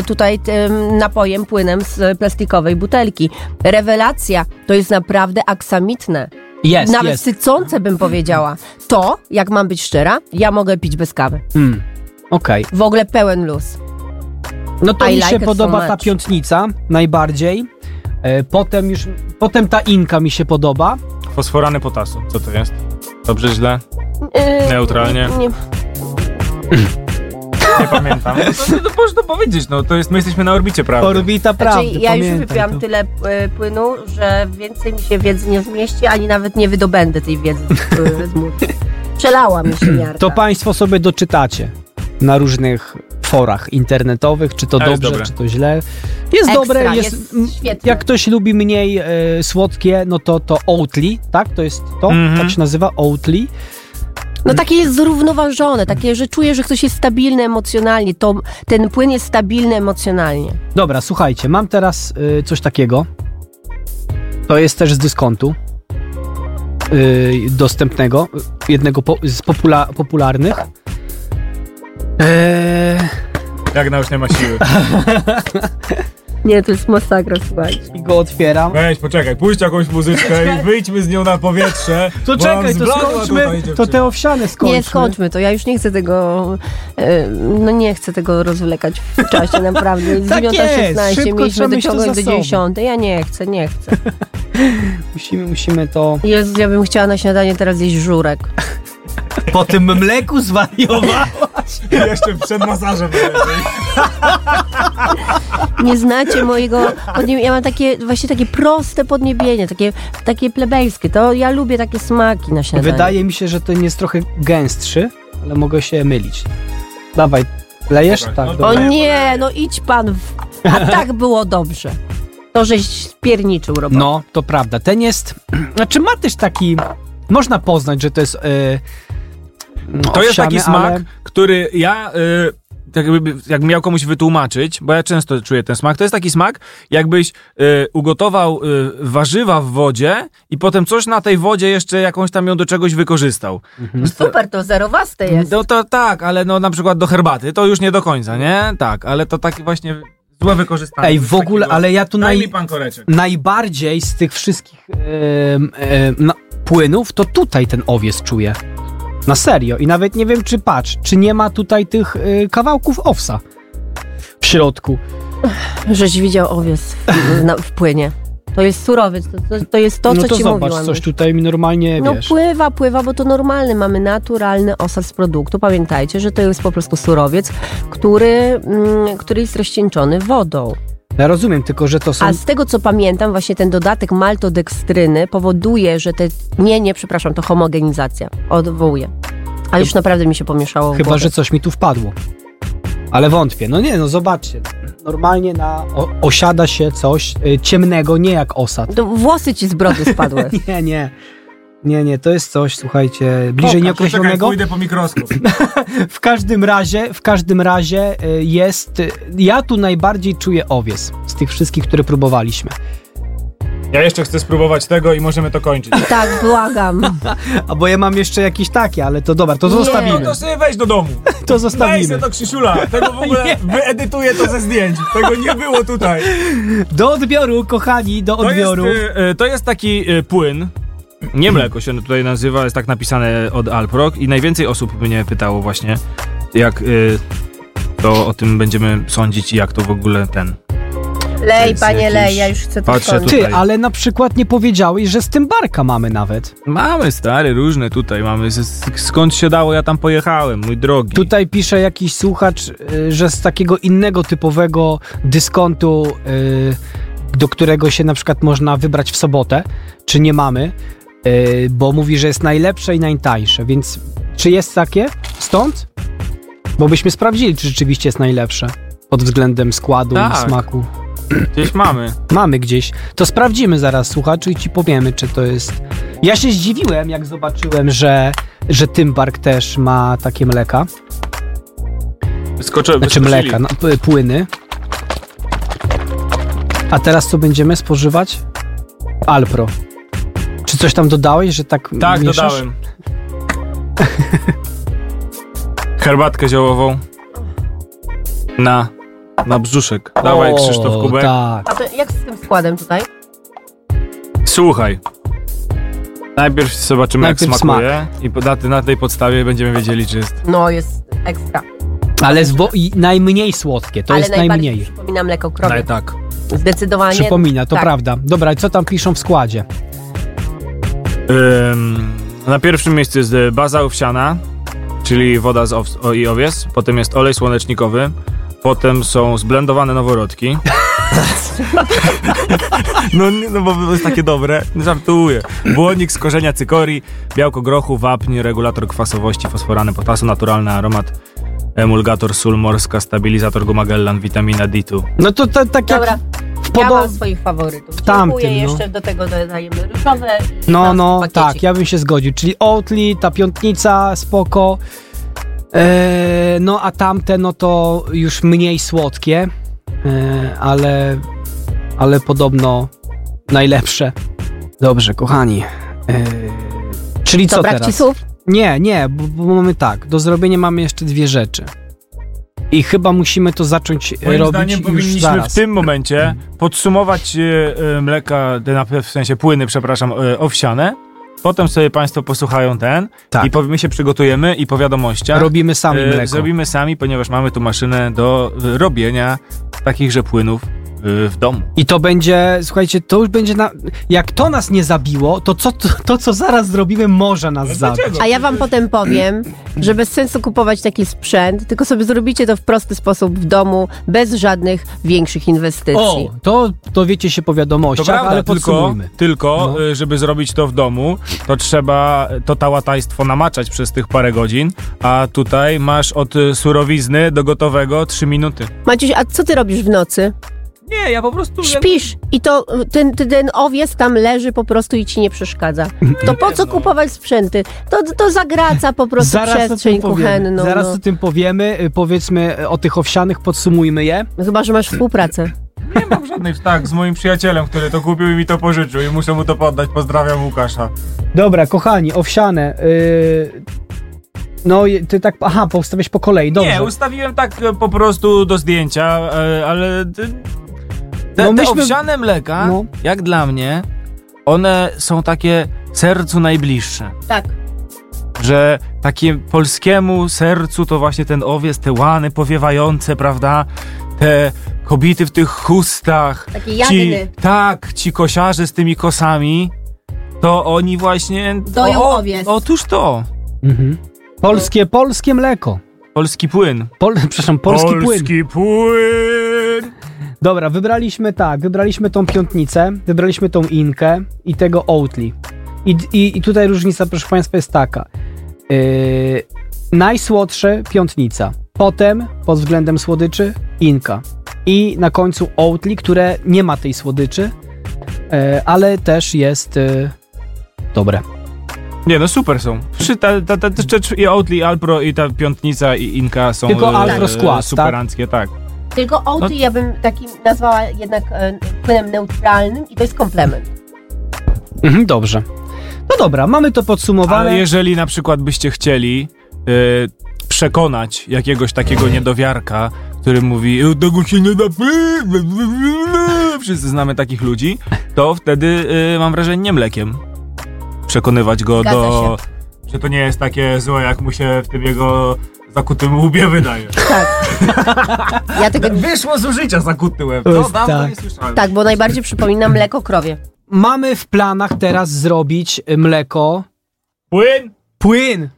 y, tutaj tym napojem, płynem z y, plastikowej butelki. Rewelacja. To jest naprawdę aksamitne.
Jest,
Nawet
jest.
sycące bym powiedziała. To, jak mam być szczera, ja mogę pić bez kawy.
Mm. Okej.
W ogóle pełen luz.
No to
I
mi
like
się
it so
podoba ta
much.
piątnica najbardziej. E, Potem już, potem ta inka mi się podoba.
Fosforany potasu. Co to jest? Dobrze, źle?
Yy,
*laughs*
Neutralnie. No
Nie,
Nie pamiętam.
No to można powiedzieć, no to jest, my jesteśmy na orbicie, prawda?
Orbita prawdy,
Znaczy, ja już
pamiętaj
wypiłam
to.
tyle y, płynu, że więcej mi się wiedzy nie zmieści, ani nawet nie wydobędę tej wiedzy *laughs* y, z mózgu. Przelała mi się miarka.
To państwo sobie doczytacie na różnych forach internetowych, czy to
Ale jest
dobrze,
dobre.
czy to źle. Jest
Ekstra,
dobre, jest,
jest
m,
świetne.
jak ktoś lubi mniej e, słodkie, no to to Oatly, tak? To jest to,
Mhm.
tak się nazywa Oatly.
No takie jest zrównoważone, takie, że czuję, że ktoś jest stabilny emocjonalnie. To, ten płyn jest stabilny emocjonalnie.
Dobra, słuchajcie, mam teraz y, coś takiego. To jest też z dyskontu. Y, dostępnego. y, Jednego po, z popula, popularnych. Eee,
Jak na już nie ma siły.
Nie, to jest masakra, słuchajcie.
I go otwieram.
Weź, poczekaj, puść jakąś muzyczkę i wyjdźmy z nią na powietrze.
*laughs* To
bo nam
czekaj, to
zbladła
skończmy.
tutaj dziewczyna.
To te owsiane skończmy.
Nie, skończmy to. Ja już nie chcę tego, e, no nie chcę tego rozwlekać w
*laughs*
czasie, naprawdę.
Tak jest,
9.16
szybko trzeba mieć to
mieliśmy dociągnąć
za
do
sobą.
10. Ja nie chcę, nie chcę.
Musimy, musimy to...
Jezus, ja bym chciała na śniadanie teraz jeść żurek.
Po tym mleku zwariowa.
Jeszcze przed masażem.
Nie znacie mojego podniebie. Ja mam takie właśnie takie proste podniebienie, takie, takie plebejskie. To ja lubię takie smaki na
*laughs*
śniadanie.
Wydaje mi się, że ten jest trochę gęstszy, ale mogę się mylić. Dawaj, lejesz?
Dobra,
Tak,
no to
dobra.
O nie, no idź pan w... A tak było dobrze. To żeś spierniczył robotę.
No, to prawda. Ten jest. *clears throat* Znaczy, ma też taki. Można poznać, że to jest. Yy,
To jest taki smak, który ja. Y, tak jakby, jak miał komuś wytłumaczyć, bo ja często czuję ten smak, to jest taki smak, jakbyś y, ugotował y, warzywa w wodzie i potem coś na tej wodzie jeszcze jakąś tam ją do czegoś wykorzystał.
No, Super, to zerowaste jest.
No to tak, ale no na przykład do herbaty, to już nie do końca, nie? Tak, ale to taki właśnie złe wykorzystanie.
Ej,
Coś
w ogóle,
takiego.
ale ja tu
Daj mi
naj,
pan koreczek.
najbardziej z tych wszystkich em, em, na, płynów, to tutaj ten owiec czuję. Na serio. I nawet nie wiem, czy patrz, czy nie ma tutaj tych y, kawałków owsa. e, w środku.
Żeś widział owiec w, na, w płynie. To jest surowiec, to, to, to jest to,
no
co
to
ci
zobacz,
mówiłam.
coś tutaj mi normalnie,
no
wiesz.
pływa, pływa, bo to normalny, mamy naturalny osad z produktu. Pamiętajcie, że to jest po prostu surowiec, który, mm, który jest rozcieńczony wodą.
Ja rozumiem, tylko że to są...
A z tego co pamiętam, właśnie ten dodatek maltodekstryny powoduje, że te. Nie, nie, przepraszam, to homogenizacja. Odwołuję. Ale już naprawdę mi się pomieszało. w
Chyba,
głowie.
że coś mi tu wpadło. Ale wątpię. No nie, no zobaczcie. Normalnie na o, osiada się coś y, ciemnego, nie jak osad.
To włosy ci z brody spadły.
*laughs*
Tak?
Nie, nie. Nie, nie, to jest coś, słuchajcie, bliżej nieokreślonego.
pójdę po mikroskop.
W każdym razie, w każdym razie y, jest. y, Ja tu najbardziej czuję owies z tych wszystkich, które próbowaliśmy.
Ja jeszcze chcę spróbować tego i możemy to kończyć.
tak, błagam.
A bo ja mam jeszcze jakieś takie, ale to dobra, to
No
zostawimy.
to sobie weź do domu.
To
Daj
zostawimy.
se to Krzysiula. Tego w ogóle wyedytuję to ze zdjęć. Tego nie było tutaj.
Do odbioru, kochani, do
To jest,
odbioru.
y, y, to jest taki y, płyn. Nie mleko się tutaj nazywa, jest tak napisane od Alproc i najwięcej osób mnie pytało właśnie, jak y, to o tym będziemy sądzić i jak to w ogóle ten.
Lej,
jest
panie,
jakiś-
lej, ja już chcę to
Patrzę
skończyć.
tutaj.
Ty, ale na przykład nie powiedziałeś, że z tym barka mamy nawet.
Mamy stary, różne tutaj mamy. Z- z- Skąd się dało, ja tam pojechałem, mój drogi.
Tutaj pisze jakiś słuchacz, y, że z takiego innego typowego dyskontu, y, do którego się na przykład można wybrać w sobotę, czy nie mamy, y, bo mówi, że jest najlepsze i najtańsze, więc czy jest takie stąd? Bo byśmy sprawdzili, czy rzeczywiście jest najlepsze pod względem składu
Tak.
i smaku.
Gdzieś mamy.
Mamy gdzieś. To sprawdzimy zaraz, słuchaczu, i ci powiemy, czy to jest. Ja się zdziwiłem, jak zobaczyłem, że, że Tymbark też ma takie mleka.
Skoczę,
Znaczy mleka, no, p- płyny. A teraz co będziemy spożywać? Alpro. Czy coś tam dodałeś, że tak
Tak,
mieszasz?
dodałem. Herbatkę ziołową. Na. Na brzuszek. Dawaj,
O,
Krzysztof Kubek.
tak.
A to jak z tym składem tutaj?
Słuchaj. Najpierw zobaczymy,
Najpierw
jak smakuje. I po- na, na tej podstawie będziemy wiedzieli, czy jest.
No, jest ekstra.
Ale zwo- i najmniej słodkie, to
Ale
jest
najbardziej
najmniej. No,
przypomina mleko
Ale
krowie.
tak.
Zdecydowanie.
Przypomina, to
tak.
prawda. Dobra, co tam piszą w składzie?
Ym, na pierwszym miejscu jest e, baza owsiana, czyli woda z ows- o, i owies. Potem jest olej słonecznikowy. Potem są zblendowane noworodki. *laughs* No, nie, no bo to jest takie dobre. Żartuję. Błonnik z korzenia cykorii, białko grochu, wapń, regulator kwasowości, fosforany potasu, naturalny aromat, emulgator, sól morska, stabilizator gumagellan, witamina D2.
No to, to tak jak
Dobra,
w
ja mam
podo-
swoich faworytów.
tamtym,
Dziękuję,
no.
jeszcze do tego dodajemy różowe.
No,
Tam
no,
pakiecik.
tak, ja bym się zgodził. Czyli Oatly, ta piątnica, spoko. Eee, no, a tamte, no to już mniej słodkie, eee, ale, ale podobno najlepsze. Dobrze, kochani. Eee, czyli co
Dobra,
teraz?
ci słów?
Nie, nie, bo, bo mamy tak. Do zrobienia mamy jeszcze dwie rzeczy. I chyba musimy to zacząć e,
Moim
robić
zdaniem
już
powinniśmy
zaraz.
w tym momencie podsumować e, e, mleka, te na- w sensie płyny, przepraszam, e, owsiane. Potem sobie Państwo posłuchają ten
Tak.
i powie- my się przygotujemy i po wiadomościach
Robimy sami
e,
mleko.
zrobimy sami, ponieważ mamy tu maszynę do e, robienia takichże płynów e, w domu.
I to będzie, słuchajcie, to już będzie na... Jak to nas nie zabiło, to co, to, to co zaraz zrobimy może nas zabić.
A ja wam potem powiem, że bez sensu kupować taki sprzęt, tylko sobie zrobicie to w prosty sposób w domu, bez żadnych większych inwestycji.
O, to dowiecie się po
To
wiadomościach,
prawda,
ale
tylko,
podsumujmy.
tylko
No.
e, żeby zrobić to w domu, to trzeba to tałatajstwo namaczać przez tych parę godzin, a tutaj masz od e, surowizny do gotowego 3 minuty.
Maciuś, a co ty robisz w nocy?
Nie, ja po prostu...
Śpisz i to ten, ten, ten owiec tam leży po prostu i ci nie przeszkadza. To po
No.
co kupować sprzęty? To, to zagraca po prostu przestrzeń kuchenną.
Zaraz
no.
o tym powiemy. Y, Powiedzmy y, o tych owsianych, podsumujmy je.
No Chyba, że masz współpracę.
Nie mam żadnych tak, z moim przyjacielem, który to kupił i mi to pożyczył i muszę mu to poddać. Pozdrawiam Łukasza.
Dobra, kochani, owsiane. y, No, je- ty tak, aha, postawiłeś po kolei, dobrze.
Nie, ustawiłem tak e, po prostu do zdjęcia, e, ale te, te,
No
te
myśmy-
owsiane mleka,
no.
jak dla mnie, one są takie sercu najbliższe.
Tak.
Że takim polskiemu sercu to właśnie ten owiec, te łany powiewające, prawda? te kobiety w tych chustach,
Takie
ci,
jagny.
tak, ci kosiarze z tymi kosami, to oni właśnie...
Doją
o,
owiec.
Otóż to,
Mhm. Polskie, polskie mleko.
polski płyn.
Pol, *laughs* przepraszam, polski, płyn.
Polski płyn.
Dobra, wybraliśmy tak, wybraliśmy tą piątnicę, wybraliśmy tą inkę i tego Oatly. I, i, i tutaj różnica, proszę Państwa, jest taka. Yy, najsłodsze piątnica, potem pod względem słodyczy inka i na końcu Oatly, które nie ma tej słodyczy, yy, ale też jest yy, dobre.
Nie no, super są. Przy, ta, ta, ta, ta, ta, I Outli, Alpro i ta piątnica i Inka są
Tylko
e,
Alpro
e,
skład, tak?
superanckie, tak.
Tylko Oatly
No.
ja bym takim nazwała jednak e, płynem neutralnym i to jest komplement.
Mhm, dobrze. No dobra, mamy to podsumowane.
Ale jeżeli na przykład byście chcieli e, przekonać jakiegoś takiego niedowiarka, który mówi "E, tego się nie da wszyscy znamy takich ludzi, to wtedy e, mam wrażenie nie mlekiem przekonywać go
Zgadza
do... Że to nie jest takie złe, jak mu się w tym jego zakutym łbie wydaje.
Ja tego
Wyszło z użycia zakuty łeb.
To
To
jest
dawno
tak.
nie słyszałem.
tak, bo najbardziej przypomina mleko krowie.
Mamy w planach teraz zrobić y, mleko
Płyn!
Płyn!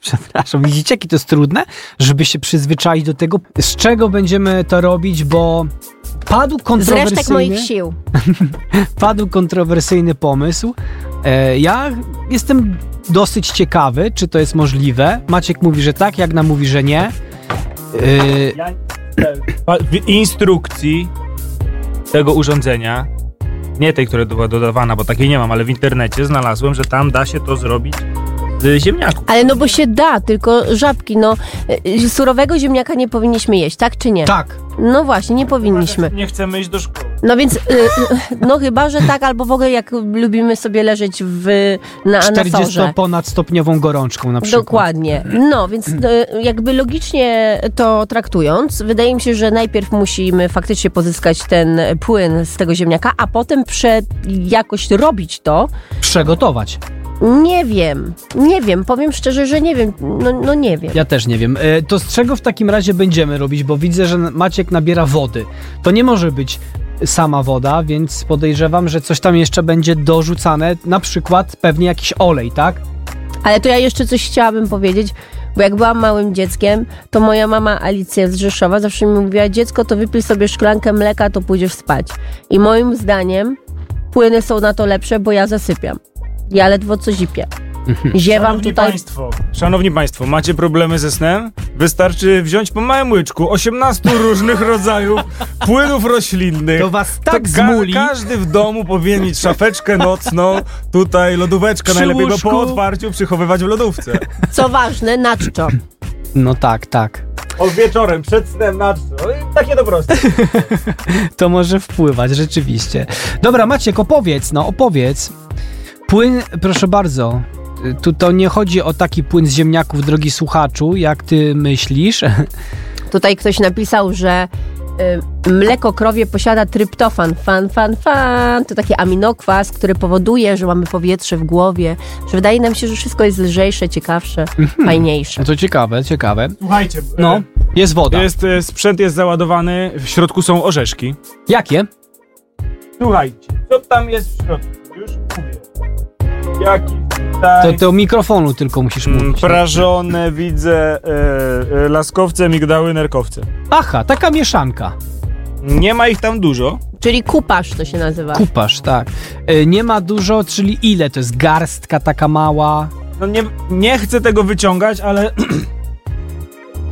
Przepraszam, widzicie, jakie to jest trudne, żeby się przyzwyczaić do tego, z czego będziemy to robić, bo padł
Z resztek moich
kontrowersyjny,
sił.
padł kontrowersyjny pomysł. E, ja jestem dosyć ciekawy, czy to jest możliwe. Maciek mówi, że tak, Jagna mówi, że nie. E,
Pa- W instrukcji tego urządzenia, nie tej, która była dodawana, bo takiej nie mam, ale w internecie znalazłem, że tam da się to zrobić z ziemniaków.
Ale no bo się da, tylko żabki, no y, y, surowego ziemniaka nie powinniśmy jeść, tak czy nie?
tak,
No właśnie, nie powinniśmy.
Nie chcemy iść do szkoły.
No więc, y, y, no chyba, że tak, albo w ogóle jak lubimy sobie leżeć w, na, na
40
sorze.
ponad stopniową gorączką na przykład.
Dokładnie. No, więc y, jakby logicznie to traktując, wydaje mi się, że najpierw musimy faktycznie pozyskać ten płyn z tego ziemniaka, a potem prze, jakoś robić to.
Przegotować.
Nie wiem, nie wiem, powiem szczerze, że nie wiem, no, no nie wiem.
Ja też nie wiem. E, To z czego w takim razie będziemy robić? Bo widzę, że Maciek nabiera wody. To nie może być sama woda, więc podejrzewam, że coś tam jeszcze będzie dorzucane, na przykład pewnie jakiś olej, tak?
Ale to ja jeszcze coś chciałabym powiedzieć, bo jak byłam małym dzieckiem, to moja mama Alicja z Rzeszowa zawsze mi mówiła, dziecko, to wypij sobie szklankę mleka, to pójdziesz spać. I moim zdaniem płyny są na to lepsze, bo ja zasypiam. Ja ledwo co zipię. Ziewam tutaj...
Państwo. Szanowni Państwo, macie problemy ze snem? Wystarczy wziąć po małym łyczku 18 różnych rodzajów *laughs* płynów roślinnych.
To was tak
ka-
zmuli.
Każdy w domu powinien mieć szafeczkę nocną, tutaj lodóweczkę,
Przy
najlepiej go
łóżku.
po otwarciu przychowywać w lodówce.
Co ważne, na czczo.
No tak, tak.
O *laughs* wieczorem, przed snem, na co? Takie to proste.
To może wpływać, rzeczywiście. Dobra, Maciek, opowiedz, no opowiedz. Płyn, proszę bardzo. y, Tu to nie chodzi o taki płyn z ziemniaków, drogi słuchaczu, jak ty myślisz. *laughs*
Tutaj ktoś napisał, że y, mleko krowie posiada tryptofan. Fan, fan, fan. To taki aminokwas, który powoduje, że mamy powietrze w głowie, że wydaje nam się, że wszystko jest lżejsze, ciekawsze, fajniejsze.
No to ciekawe, ciekawe.
Słuchajcie, e,
No, jest woda.
Jest, e, sprzęt jest załadowany, w środku są orzeszki.
Jakie?
Słuchajcie, co tam jest w środku? Już mówię. Jaki tutaj...
To, to mikrofonu tylko musisz
Mm,
mówić. tak?
Prażone widzę e, e, laskowce, migdały, nerkowce.
Aha, taka mieszanka.
Nie ma ich tam dużo.
Czyli kupasz to się nazywa.
Kupasz, tak. E, Nie ma dużo, czyli ile? To jest garstka taka mała.
No nie, nie chcę tego wyciągać, ale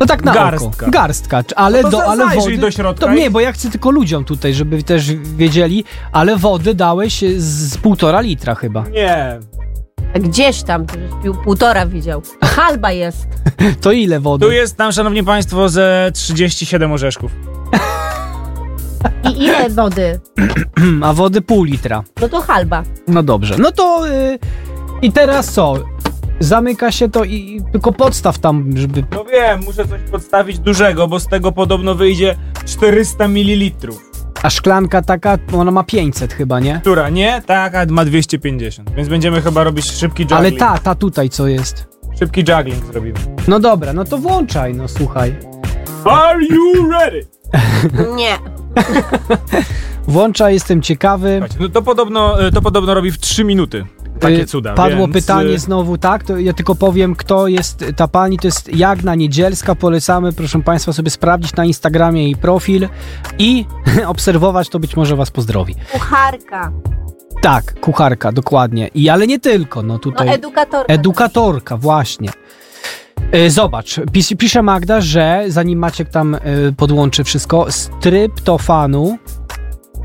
No tak na
Garstka.
oko. Garstka. czy- Ale,
No to
do,
za-
ale
zajrzyj
wody...
do środka
To
i-
nie, bo ja chcę tylko ludziom tutaj, żeby też wiedzieli, ale wody dałeś z, z półtora litra chyba.
nie.
A Gdzieś tam, to żeś pił półtora widział. Halba jest.
To ile
Tu
wody?
jest tam, szanowni państwo, ze 37 orzeszków.
I ile wody?
Mm, A wody pół litra.
No to halba.
No dobrze. No to y, i teraz co? Zamyka się to i i tylko podstaw tam, żeby...
No wiem, muszę coś podstawić dużego, bo z tego podobno wyjdzie 400 ml.
A szklanka taka, ona ma 500 chyba, nie?
Która nie? Taka ma 250. Więc będziemy chyba robić szybki juggling.
Ale tak, ta, ta tutaj co jest.
Szybki juggling zrobimy.
No dobra, no to włączaj, no słuchaj.
Are you ready?
Nie.
Włącza, jestem ciekawy.
No to podobno, y, to podobno robi w 3 minuty. Takie
Y,
cuda.
Padło
więc,
pytanie
y,
znowu, tak? To ja tylko powiem, kto jest ta pani. To jest Jagna Niedzielska. Polecamy, proszę Państwa, sobie sprawdzić na Instagramie jej profil i *laughs* obserwować, to być może Was pozdrowi.
Kucharka.
Tak, kucharka, dokładnie. I ale nie tylko, no
No,
tutaj.
edukatorka.
Edukatorka, właśnie. E, Zobacz, pis, pisze Magda, że zanim Maciek tam e, podłączy wszystko, z tryptofanu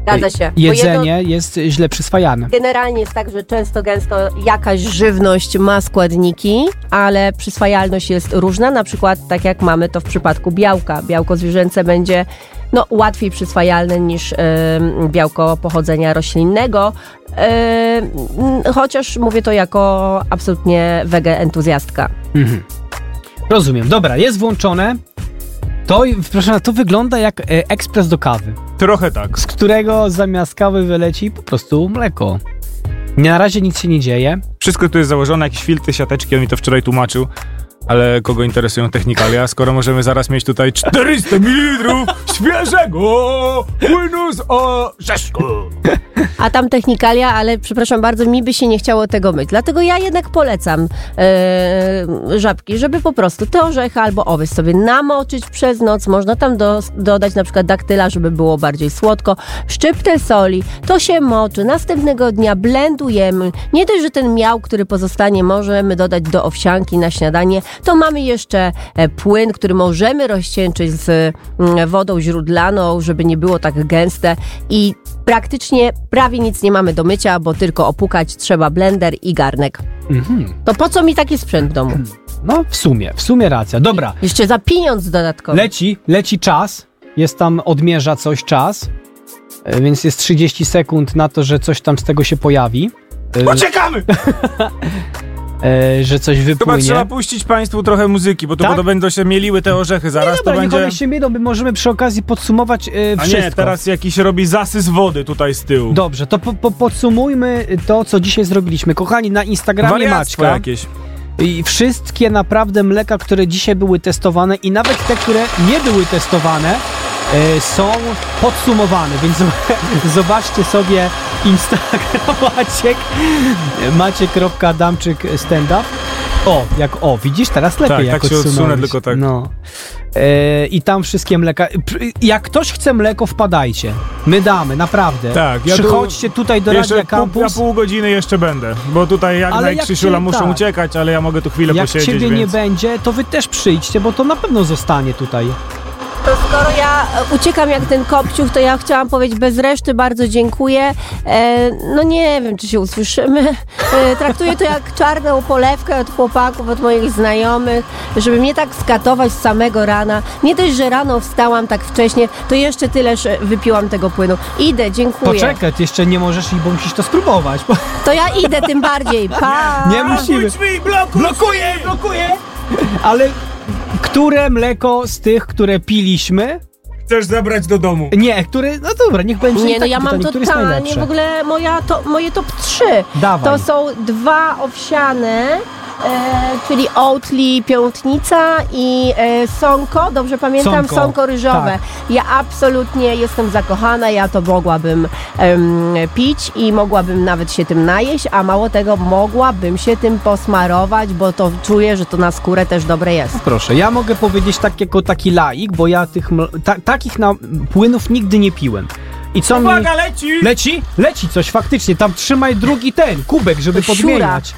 Zgadza się. Bo jedno-
jedzenie jest źle przyswajane.
Generalnie jest tak, że często gęsto jakaś żywność ma składniki, ale przyswajalność jest różna, na przykład tak jak mamy to w przypadku białka. Białko zwierzęce będzie no, łatwiej przyswajalne niż em, białko pochodzenia roślinnego, em, chociaż mówię to jako absolutnie wege entuzjastka.
Mhm. Rozumiem. Dobra, jest włączone. To, i- proszę, pana, to wygląda jak e, ekspres do kawy,
Trochę tak.
z którego zamiast kawy wyleci po prostu mleko. Nie, Na razie nic się nie dzieje.
Wszystko tu jest założone, jakieś filtry, siateczki, on mi to wczoraj tłumaczył. Ale kogo interesują technikalia, skoro możemy zaraz mieć tutaj 400 ml świeżego płynu z orzeszku.
A tam technikalia, ale przepraszam bardzo, mi by się nie chciało tego myć. Dlatego ja jednak polecam e, żabki, żeby po prostu te orzechy albo owys sobie namoczyć przez noc. Można tam do, dodać na przykład daktyla, żeby było bardziej słodko. Szczyptę soli, to się moczy. Następnego dnia blendujemy. Nie dość, że ten miał, który pozostanie, możemy dodać do owsianki na śniadanie. To mamy jeszcze e, płyn, który możemy rozcieńczyć z mm, wodą źródlaną, żeby nie było tak gęste i praktycznie prawie nic nie mamy do mycia, bo tylko opukać trzeba blender i garnek.
Mhm.
To po co mi taki sprzęt w domu?
No, w sumie, w sumie racja. Dobra,
Jeszcze za pieniądz dodatkowo.
leci, leci czas. Jest tam, odmierza coś czas. E, Więc jest 30 sekund na to, że coś tam z tego się pojawi. E,
Poczekamy!
e, że coś
Chyba
wypłynie.
trzeba puścić Państwu trochę muzyki, bo to
Tak?
bo to będą się mieliły te orzechy zaraz,
Dobra,
to
niech one
będzie...
się miedą, my możemy przy okazji podsumować e,
A
wszystko.
nie, teraz jakiś robi zasys wody tutaj z tyłu.
Dobrze, to po, po, podsumujmy to, co dzisiaj zrobiliśmy. Kochani, na Instagramie
Wariactwo
Maćka
jakieś.
i wszystkie naprawdę mleka, które dzisiaj były testowane i nawet te, które nie były testowane, e, są podsumowane, więc *laughs* zo- zobaczcie sobie Instagram *laughs* Maciek, maciek.damczyk standup. O, jak o, widzisz, teraz lepiej
Tak,
jak
tak się odsunę,
odsunąłeś.
tylko tak.
No. E, I tam wszystkie mleka. Pr- Jak ktoś chce mleko, wpadajcie. My damy, naprawdę.
Tak, ja tu-
Przychodźcie tutaj do
Jeszcze
Radia
pół, ja
Campus.
pół godziny jeszcze będę, bo tutaj jak
Ale
na
jak
Krzysiula
cię-
muszą
tak.
uciekać, ale ja mogę tu chwilę
Jak
posiedzieć,
ciebie
więc...
nie będzie, to wy też przyjdźcie, bo to na pewno zostanie tutaj.
To skoro ja e, uciekam jak ten kopciuch, to ja chciałam powiedzieć bez reszty bardzo dziękuję. E, no nie wiem, czy się usłyszymy. E, traktuję to jak czarną polewkę od chłopaków, od moich znajomych, żeby mnie tak skatować z samego rana. Nie dość, że rano wstałam tak wcześnie, to jeszcze tyleż e, wypiłam tego płynu. Idę, dziękuję.
Poczekaj, ty jeszcze nie możesz i bo *laughs* musisz to spróbować.
To ja idę tym bardziej. Pa!
Nie musimy.
Drzwi, blokuj!
Blokuję, blokuję! Ale które mleko z tych, które piliśmy?
Chcesz zabrać do domu.
Nie, które. No dobra, niech będzie. i
Nie, no
tak
ja mam
pytanie, które jest
totalnie,
najlepsze.
w ogóle moja to, moje top 3
Dawaj.
to są dwa owsiane, e, czyli Oatly Piątnica i e, Sonko, dobrze pamiętam,
Sonko,
Sonko, Ryżowe.
tak.
Ja absolutnie jestem zakochana, ja to mogłabym em, pić i mogłabym nawet się tym najeść, a mało tego, mogłabym się tym posmarować, bo to czuję, że to na skórę też dobre jest.
Proszę, ja mogę powiedzieć tak jako taki laik, bo ja tych ml- ta, takich na, płynów nigdy nie piłem. I co mi.
Uwaga, leci!
Leci? Leci coś faktycznie. Tam trzymaj drugi ten kubek, żeby
Siura.
podmieniać.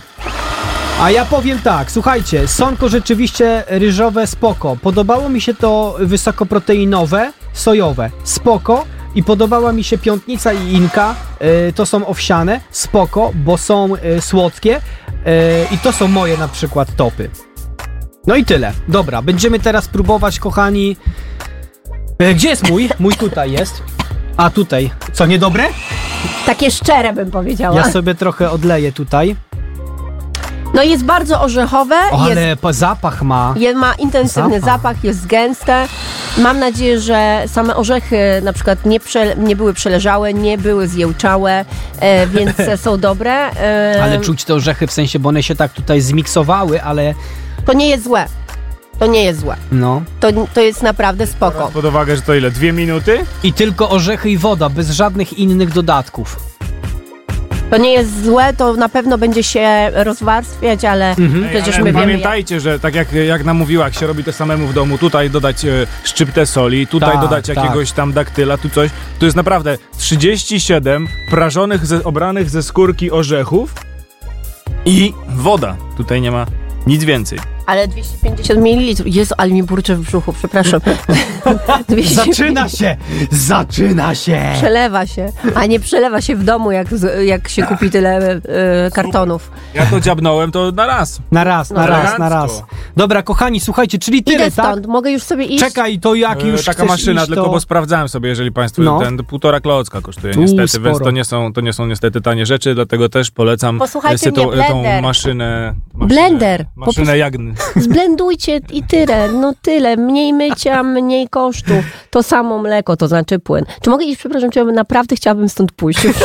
A ja powiem tak, słuchajcie, sonko rzeczywiście ryżowe spoko. Podobało mi się to wysokoproteinowe, sojowe, spoko. I podobała mi się piątnica i inka, y, to są owsiane, spoko, bo są y, słodkie y, i to są moje na przykład topy. No i tyle. Dobra, będziemy teraz próbować, kochani. Y, Gdzie jest mój? Mój tutaj jest. A tutaj. Co, niedobre?
Takie szczere bym powiedziała.
Ja sobie trochę odleję tutaj.
No jest bardzo orzechowe,
O,
jest
ale po zapach ma.
Je, ma intensywny
Zapach.
zapach. jest gęste. Mam nadzieję, że same orzechy na przykład nie, prze, nie były przeleżałe, nie były zjełczałe, e, więc
*laughs*
są dobre. E,
Ale czuć te orzechy w sensie, bo one się tak tutaj zmiksowały, ale
To nie jest złe. To nie jest złe.
No.
To, to jest naprawdę spoko.
Pod uwagę, że to ile? Dwie minuty?
I tylko orzechy i woda, bez żadnych innych
*laughs*
dodatków.
To nie jest złe, to na pewno będzie się rozwarstwiać, ale
Mhm.
przecież
Ale
my wiemy. jak-
pamiętajcie, że tak jak, jak nam mówiła, jak się robi to samemu w domu, tutaj dodać e, szczyptę soli, tutaj
Tak,
dodać
tak.
jakiegoś tam daktyla, tu coś. To jest naprawdę 37 prażonych, ze, obranych ze skórki orzechów i woda. Tutaj nie ma nic więcej.
Ale 250 ml. Jezu, ale mi burczy w brzuchu,
*laughs*
przepraszam. 250
Zaczyna się! Zaczyna się!
Przelewa się, a nie przelewa się w domu, jak, z- jak się kupi tyle e, kartonów.
Ja to dziabnąłem, to na raz.
Na raz, na
No,
raz, na raz.
elegancko.
Dobra, kochani, słuchajcie, czyli tyle,
Idę
tak?
stąd, mogę już sobie iść.
Czekaj, *laughs* to jak
E,
Tak już
Taka
chcesz
maszyna,
iść,
tylko
to...
bo sprawdzałem sobie, jeżeli Państwo
No.
ten półtora klocka kosztuje
Tu
niestety,
sporo.
więc to nie, są, to nie są niestety tanie rzeczy, dlatego też polecam
Posłuchajcie
sobie
mnie,
tą, tą
blender.
maszynę. maszynę
Blender. Po prostu-
Maszynę jagny.
Zblendujcie i tyle, no tyle. Mniej mycia, mniej kosztów. To samo mleko, to znaczy płyn. Czy mogę iść, przepraszam, czy ja naprawdę chciałabym stąd pójść już?